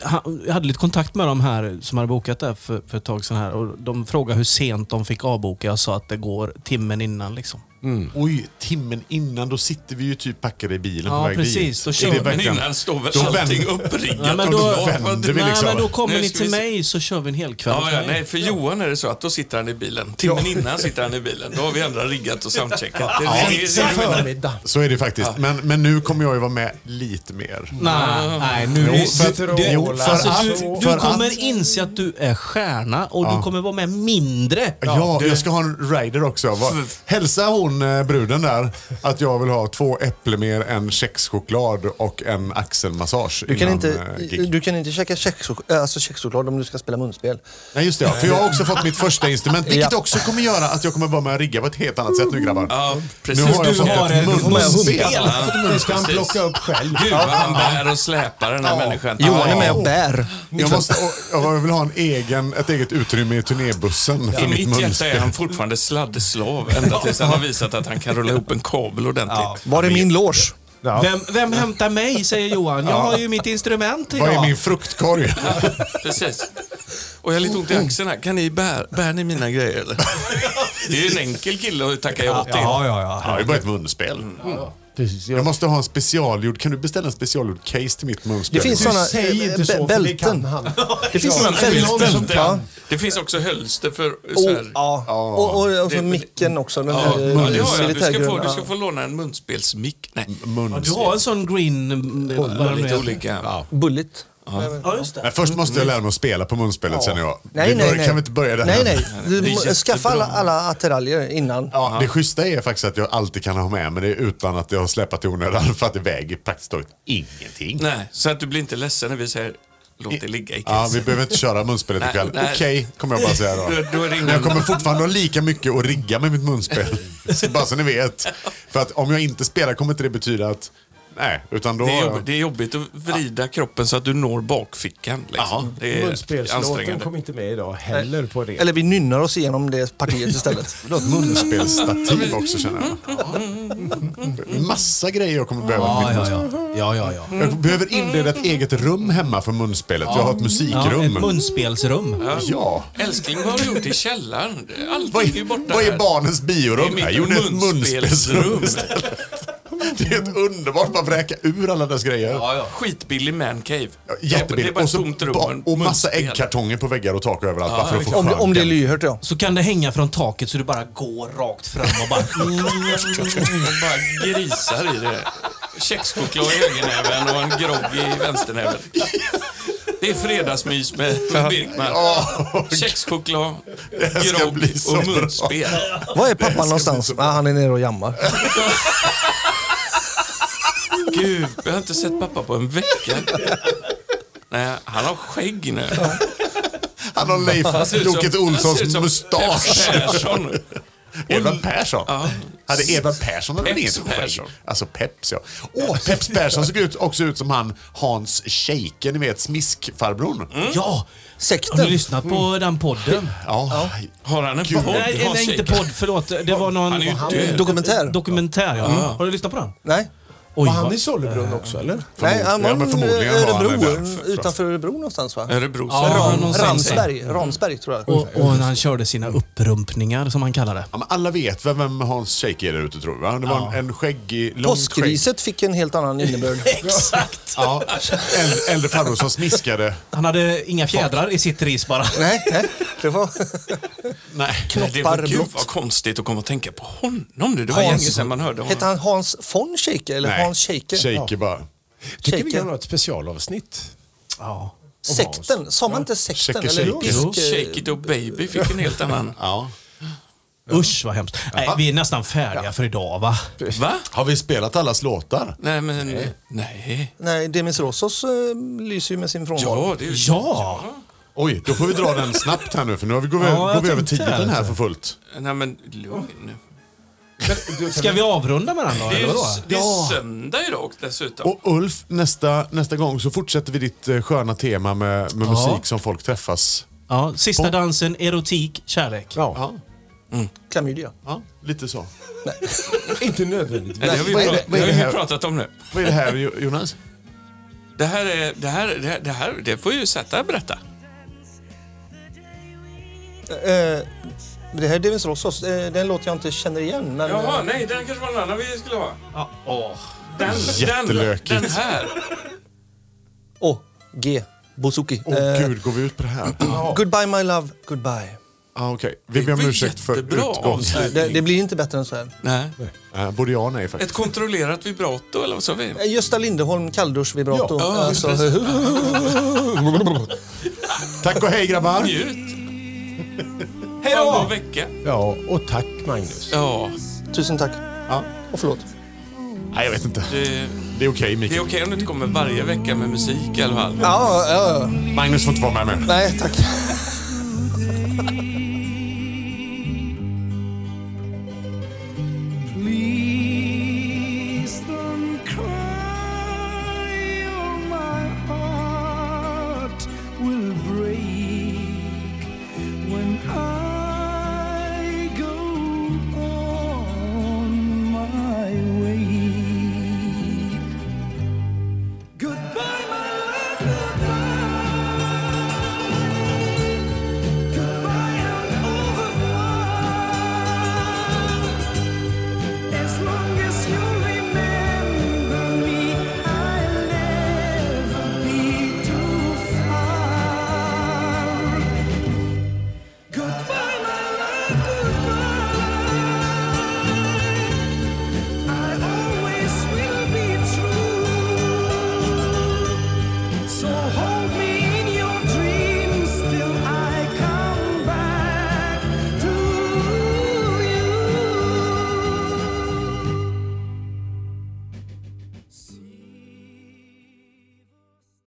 [SPEAKER 3] han, jag hade lite kontakt med de här som hade bokat det här för, för ett tag sedan. Här, och de frågade hur sent de fick avboka. Jag sa att det går timmen innan. Liksom.
[SPEAKER 1] Mm.
[SPEAKER 4] Oj, timmen innan, då sitter vi ju typ packade i bilen
[SPEAKER 3] Ja,
[SPEAKER 4] på väg dit.
[SPEAKER 3] precis. Då
[SPEAKER 4] Är
[SPEAKER 3] kör
[SPEAKER 4] det
[SPEAKER 3] vi.
[SPEAKER 2] Men
[SPEAKER 4] verkligen-
[SPEAKER 2] innan står väl
[SPEAKER 4] Då
[SPEAKER 2] allting
[SPEAKER 4] vänder-
[SPEAKER 2] uppriggat
[SPEAKER 3] Nej, men
[SPEAKER 2] och
[SPEAKER 3] då-
[SPEAKER 2] då
[SPEAKER 4] vänder vi
[SPEAKER 3] Nej,
[SPEAKER 4] liksom.
[SPEAKER 3] men då kommer
[SPEAKER 2] Nu
[SPEAKER 3] ni
[SPEAKER 2] ska
[SPEAKER 3] till
[SPEAKER 2] vi se.
[SPEAKER 3] mig så kör vi en hel kväll.
[SPEAKER 2] Ja, ja, nej, för Johan är det så att då sitter han i bilen. Timmen innan sitter han i bilen. Då har vi andra riggat och soundcheckat. Det, det, det,
[SPEAKER 5] Sen
[SPEAKER 2] det, det,
[SPEAKER 5] förmiddag.
[SPEAKER 4] Så är det faktiskt. Men, men nu kommer jag ju vara med lite mer.
[SPEAKER 3] Nej, nej, nu...
[SPEAKER 4] Jo, för,
[SPEAKER 5] det-
[SPEAKER 4] jo, för
[SPEAKER 5] alltså,
[SPEAKER 4] att...
[SPEAKER 3] Mm. Du,
[SPEAKER 4] för
[SPEAKER 3] du kommer
[SPEAKER 4] att
[SPEAKER 3] inse att du är stjärna och du kommer vara med mindre.
[SPEAKER 4] ja, jag ska ha en rider också. Va- Hälsa hon eh, bruden där att jag vill ha två äpplen mer, en kexchoklad och en axelmassage
[SPEAKER 1] Du kan,
[SPEAKER 4] innan,
[SPEAKER 1] inte,
[SPEAKER 4] eh, gig.
[SPEAKER 1] du kan inte käka kexchok- äh, alltså kexchoklad om du ska spela munspel.
[SPEAKER 4] Nej, just det. Ja. För jag har också fått mitt första instrument, vilket
[SPEAKER 1] Ja.
[SPEAKER 4] också kommer göra att jag kommer vara med och rigga på ett helt annat sätt nu grabbar.
[SPEAKER 2] Ja,
[SPEAKER 4] Nu
[SPEAKER 2] precis.
[SPEAKER 4] har jag
[SPEAKER 2] Du
[SPEAKER 4] fått
[SPEAKER 3] har
[SPEAKER 4] ett
[SPEAKER 3] en-
[SPEAKER 4] munspel.
[SPEAKER 3] munspel.
[SPEAKER 5] Det ska han
[SPEAKER 2] Precis.
[SPEAKER 5] plocka upp själv.
[SPEAKER 2] Gud vad han bär och släpar den här människan.
[SPEAKER 1] Johan är med och bär.
[SPEAKER 4] Jag, måste, och, jag vill ha en egen, ett eget utrymme i turnébussen för
[SPEAKER 2] I mitt
[SPEAKER 4] mitt
[SPEAKER 2] hjärta är
[SPEAKER 4] munspel.
[SPEAKER 2] han fortfarande sladdslav ända tills han har visat att han kan rulla ihop en kabel ordentligt.
[SPEAKER 1] Var är min loge?
[SPEAKER 3] Vem, vem hämtar mig, säger Johan. Jag har ju mitt instrument
[SPEAKER 4] Vad är
[SPEAKER 3] idag.
[SPEAKER 4] min fruktkorg?
[SPEAKER 2] Precis. Och jag har lite ont i axeln här. Kan ni bära, bär ni mina grejer eller? Det är ju en enkel kille att tacka ja till.
[SPEAKER 3] Ja, ja, ja.
[SPEAKER 4] Ja, det är bara ett munspel.
[SPEAKER 5] Precis,
[SPEAKER 4] Jag
[SPEAKER 5] jag,
[SPEAKER 4] måste ha en specialgjord. Kan du beställa en specialgjord case till mitt munspel?
[SPEAKER 1] Det finns
[SPEAKER 5] du
[SPEAKER 1] såna,
[SPEAKER 5] säger
[SPEAKER 1] eh,
[SPEAKER 5] inte så,
[SPEAKER 1] bä-
[SPEAKER 5] för det kan
[SPEAKER 1] bälten.
[SPEAKER 5] han.
[SPEAKER 1] Det finns sådana bälten. Ja.
[SPEAKER 2] Det finns också hölster för
[SPEAKER 4] Oh,
[SPEAKER 1] Och,
[SPEAKER 2] så här.
[SPEAKER 1] ja. och, och, och så micken också. Den
[SPEAKER 2] Ja,
[SPEAKER 1] här,
[SPEAKER 2] ja,
[SPEAKER 1] eh,
[SPEAKER 2] det har jag. Du ska, få,
[SPEAKER 1] militärgröna.
[SPEAKER 2] du ska få låna en munspelsmick. Nej,
[SPEAKER 3] Du
[SPEAKER 4] munspel.
[SPEAKER 3] har en sån green... mm, vad
[SPEAKER 2] det var
[SPEAKER 3] den
[SPEAKER 2] lite
[SPEAKER 3] heter.
[SPEAKER 2] olika.
[SPEAKER 1] Bulligt.
[SPEAKER 3] Ja, just det.
[SPEAKER 4] Men först måste jag lära mig att spela på munspelet känner jag.
[SPEAKER 1] Nej,
[SPEAKER 4] vi bör-
[SPEAKER 1] nej, nej.
[SPEAKER 4] Kan vi inte börja där?
[SPEAKER 1] Nej, nej.
[SPEAKER 2] Det är
[SPEAKER 1] Du, må-
[SPEAKER 2] jättebra.
[SPEAKER 1] skaffa alla, alla attiraljer innan.
[SPEAKER 4] Ja, det schyssta är faktiskt att jag alltid kan ha med mig det utan att jag har släpat i onödan (laughs) för att det väger praktiskt taget ingenting.
[SPEAKER 2] Nej, så att du blir inte ledsen när vi säger låt det ligga i
[SPEAKER 4] Ja,
[SPEAKER 2] kassen.
[SPEAKER 4] vi behöver inte köra munspelet
[SPEAKER 2] Nej,
[SPEAKER 4] ikväll.
[SPEAKER 2] nej.
[SPEAKER 4] Okej, kommer jag bara säga då.
[SPEAKER 2] Då- då är det ingen-
[SPEAKER 4] Men jag kommer fortfarande ha lika mycket att rigga med mitt
[SPEAKER 2] (laughs)
[SPEAKER 4] munspel. Så bara så ni vet. För att om jag inte spelar kommer inte det betyda att... Nej, utan då...
[SPEAKER 2] Det
[SPEAKER 4] har
[SPEAKER 2] är,
[SPEAKER 4] jag-
[SPEAKER 2] jobb, det är jobbigt att vrida kroppen så att du når bakfickan. Liksom. Det är
[SPEAKER 5] Munspelslåten
[SPEAKER 2] ansträngande.
[SPEAKER 5] kom inte med idag heller på det.
[SPEAKER 1] Eller vi nynnar oss igenom det partiet istället.
[SPEAKER 4] Jag vill ha ett
[SPEAKER 2] (laughs)
[SPEAKER 4] munspelsstativ också känner jag. Massa grejer jag kommer behöva.
[SPEAKER 3] Ja,
[SPEAKER 4] med mitt
[SPEAKER 3] ja, ja. ja, ja, ja.
[SPEAKER 4] Jag behöver inreda ett eget rum hemma för munspelet. Jag har ett
[SPEAKER 3] ja ett
[SPEAKER 4] musikrum.
[SPEAKER 3] munspelsrum.
[SPEAKER 4] Ja.
[SPEAKER 2] Älskling, vad har du gjort i källaren? Allting
[SPEAKER 4] Vad
[SPEAKER 2] är ju
[SPEAKER 4] är,
[SPEAKER 2] borta
[SPEAKER 4] vad
[SPEAKER 2] här.
[SPEAKER 4] är barnens
[SPEAKER 2] Det är
[SPEAKER 4] biorum?
[SPEAKER 2] mitt
[SPEAKER 4] Jag gjorde ett
[SPEAKER 2] munspelsrum. (laughs)
[SPEAKER 4] munspelsrum istället. (laughs) Det är ett underbart, bara vräka ur alla dess grejer.
[SPEAKER 2] Ja, ja. Skitbillig mancave. Det är
[SPEAKER 4] Jättebilligt.
[SPEAKER 2] bara
[SPEAKER 4] Och,
[SPEAKER 2] ett
[SPEAKER 4] så,
[SPEAKER 2] tomt rum
[SPEAKER 4] ba- och massa
[SPEAKER 2] munspel.
[SPEAKER 4] äggkartonger på väggar och tak överallt bara för att få
[SPEAKER 1] Om, om det är
[SPEAKER 4] skärken.
[SPEAKER 1] lyhört ja.
[SPEAKER 3] Så kan det hänga från taket så du bara går rakt fram och
[SPEAKER 2] (laughs)
[SPEAKER 3] bara...
[SPEAKER 2] Och bara grisar i det. Kexchoklad i högernäven och en grogg i vänsternäven. Det är fredagsmys med, med Birkman.
[SPEAKER 4] Ja,
[SPEAKER 2] Kexchoklad,
[SPEAKER 4] här ska
[SPEAKER 2] grogg
[SPEAKER 4] bli så
[SPEAKER 2] och
[SPEAKER 4] bra.
[SPEAKER 2] munspel.
[SPEAKER 1] Var är pappan någonstans? Ah, han är nere och jammar.
[SPEAKER 2] Gud, jag har inte sett pappa på en vecka. Nej, han har skägg nu.
[SPEAKER 4] han har
[SPEAKER 2] Mm. Han
[SPEAKER 4] Leif
[SPEAKER 2] ser ut som-
[SPEAKER 4] Loket
[SPEAKER 2] han ser ut
[SPEAKER 4] Olssons
[SPEAKER 2] som
[SPEAKER 4] mustasch.
[SPEAKER 2] F. Persson.
[SPEAKER 4] Edvard Persson?
[SPEAKER 2] Ja.
[SPEAKER 4] Hade Edvard Persson eller
[SPEAKER 2] Peps
[SPEAKER 4] inget skägg?
[SPEAKER 2] Persson.
[SPEAKER 4] Alltså Peps ja. Åh, Peps Persson såg ut, också ut som han Hans Scheike, ni vet smiskfarbrorn.
[SPEAKER 2] Mm.
[SPEAKER 3] Ja! Har
[SPEAKER 1] Sekten.
[SPEAKER 3] du lyssnat på den podden?
[SPEAKER 4] Ja.
[SPEAKER 2] Har han en
[SPEAKER 4] Gud.
[SPEAKER 2] podd?
[SPEAKER 3] Nej,
[SPEAKER 2] Hans
[SPEAKER 3] nej, inte
[SPEAKER 2] Shaker?
[SPEAKER 3] podd. Förlåt. Det var någon...
[SPEAKER 2] Han är ju
[SPEAKER 3] Han-
[SPEAKER 2] död.
[SPEAKER 1] Dokumentär?
[SPEAKER 3] Dokumentär, ja. Har du Mm. lyssnat på den?
[SPEAKER 1] Nej?
[SPEAKER 3] Oj,
[SPEAKER 5] Var han
[SPEAKER 3] vad-
[SPEAKER 5] i Sollebrunn också eller?
[SPEAKER 4] Förmodligen-
[SPEAKER 1] Nej, han
[SPEAKER 4] ja, men
[SPEAKER 1] var
[SPEAKER 4] förmodligen har han
[SPEAKER 1] Örebro.
[SPEAKER 4] den där.
[SPEAKER 1] Utanför Örebro någonstans va?
[SPEAKER 2] Örebro.
[SPEAKER 3] Ja,
[SPEAKER 2] så-
[SPEAKER 3] men
[SPEAKER 1] Ram,
[SPEAKER 3] någonstans.
[SPEAKER 1] Ramsberg. Ramsberg tror jag.
[SPEAKER 3] Och, och när han körde sina upprumpningar som han kallar det.
[SPEAKER 4] Ja, men alla vet väl vem Hans Shake är där ute tror jag. va? Det var en, en skäggig, långt skägg.
[SPEAKER 1] Påskriset fick en helt annan innebörd.
[SPEAKER 3] Exakt!
[SPEAKER 4] Ja, äldre, äldre farbror
[SPEAKER 2] (laughs)
[SPEAKER 4] som smiskade.
[SPEAKER 3] Han hade inga fjädrar i sitt ris bara.
[SPEAKER 1] Nej, nej, det var...
[SPEAKER 2] Nej, det
[SPEAKER 1] Knoppar
[SPEAKER 2] var, gud
[SPEAKER 1] blott.
[SPEAKER 2] vad konstigt att komma och tänka på honom nu. Det var
[SPEAKER 1] Hans-
[SPEAKER 2] länge sedan man hörde
[SPEAKER 1] Hette
[SPEAKER 2] honom.
[SPEAKER 1] han Hans von Scheike eller Hans Scheike?
[SPEAKER 4] Shake bara.
[SPEAKER 5] Tycker vi
[SPEAKER 1] Shaker.
[SPEAKER 5] kan ha ett specialavsnitt.
[SPEAKER 3] Ja.
[SPEAKER 1] Sekten, sa man inte sekten?
[SPEAKER 4] Shaker,
[SPEAKER 1] eller
[SPEAKER 4] shaker.
[SPEAKER 1] pisk-
[SPEAKER 2] Jo, Shake it och baby fick en helt annan.
[SPEAKER 4] Ja.
[SPEAKER 3] Usch vad hemskt. Nej, vi är nästan färdiga för idag va?
[SPEAKER 2] Va?
[SPEAKER 4] Har vi spelat allas låtar?
[SPEAKER 2] Nej, men nej. nej.
[SPEAKER 1] Nej, Demis Rossos eh, lyser ju med sin frånvaro.
[SPEAKER 2] Ja, det är ju...
[SPEAKER 3] Ja!
[SPEAKER 4] Oj, då får vi dra den snabbt här nu för nu har vi, går, vi-
[SPEAKER 3] Ja, jag
[SPEAKER 4] går vi över
[SPEAKER 3] tänkte
[SPEAKER 4] tiden
[SPEAKER 3] det.
[SPEAKER 4] här för fullt.
[SPEAKER 2] Nej, men lugn.
[SPEAKER 3] Ska vi avrunda med den då?
[SPEAKER 2] Det är, ju,
[SPEAKER 3] Eller vadå?
[SPEAKER 2] det är söndag idag dessutom.
[SPEAKER 4] Och Ulf, nästa, nästa gång så fortsätter vi ditt eh, sköna tema med, med musik som folk träffas.
[SPEAKER 3] Ja, sista dansen, erotik, kärlek.
[SPEAKER 5] Ja,
[SPEAKER 1] Klamydia.
[SPEAKER 4] Ja, lite så.
[SPEAKER 5] inte nödvändigtvis.
[SPEAKER 2] Nej, det har vi,
[SPEAKER 4] vad är det-
[SPEAKER 2] pra-
[SPEAKER 4] vad är
[SPEAKER 2] det
[SPEAKER 4] det
[SPEAKER 2] har
[SPEAKER 4] här?
[SPEAKER 2] vi pratat om nu.
[SPEAKER 4] Vad är det här Jo- Jonas?
[SPEAKER 2] Det här, är, det här, det här, det här det får ju Zäta berätta.
[SPEAKER 1] Eh, det här är Demis Rossos, eh, den låt jag inte känner igen. Men,
[SPEAKER 2] Jaha,
[SPEAKER 1] eh,
[SPEAKER 2] nej, den kanske var någon annan vi skulle ha.
[SPEAKER 3] Ja, åh.
[SPEAKER 2] Den, den,
[SPEAKER 4] Jättelökigt.
[SPEAKER 2] den här.
[SPEAKER 1] Åh, G. Bouzouki.
[SPEAKER 4] Åh
[SPEAKER 1] Eh,
[SPEAKER 4] gud, går vi ut på det här?
[SPEAKER 1] goodbye my love, goodbye.
[SPEAKER 4] Ah, Okej, vi
[SPEAKER 2] Det
[SPEAKER 4] ber
[SPEAKER 2] var
[SPEAKER 4] om ursäkt för
[SPEAKER 2] jättebra
[SPEAKER 4] utgångs...
[SPEAKER 2] avslut.
[SPEAKER 1] Det, det blir inte bättre än så här.
[SPEAKER 2] Nej.
[SPEAKER 4] Eh, Både ja och nej
[SPEAKER 2] Ett
[SPEAKER 4] faktiskt.
[SPEAKER 2] kontrollerat vibrato eller vad sa vi?
[SPEAKER 1] Eh, Gösta Linderholm, kallduschvibrato.
[SPEAKER 2] Ja, ja,
[SPEAKER 1] alltså,
[SPEAKER 2] precis.
[SPEAKER 4] Tack och hej grabbar!
[SPEAKER 2] Njut.
[SPEAKER 3] Hej då!
[SPEAKER 2] Varannan vecka.
[SPEAKER 5] Ja, och tack Magnus.
[SPEAKER 2] Ja,
[SPEAKER 1] tusen tack.
[SPEAKER 4] Ja.
[SPEAKER 1] Och förlåt.
[SPEAKER 4] Nej, jag vet inte.
[SPEAKER 2] det,
[SPEAKER 4] Det är okej
[SPEAKER 2] det är okej
[SPEAKER 4] Mikael.
[SPEAKER 2] om du inte kommer varje vecka med musik i alla fall.
[SPEAKER 1] Ja, ja, ja.
[SPEAKER 4] Magnus får inte vara med mer.
[SPEAKER 1] Nej, tack.
[SPEAKER 7] oh,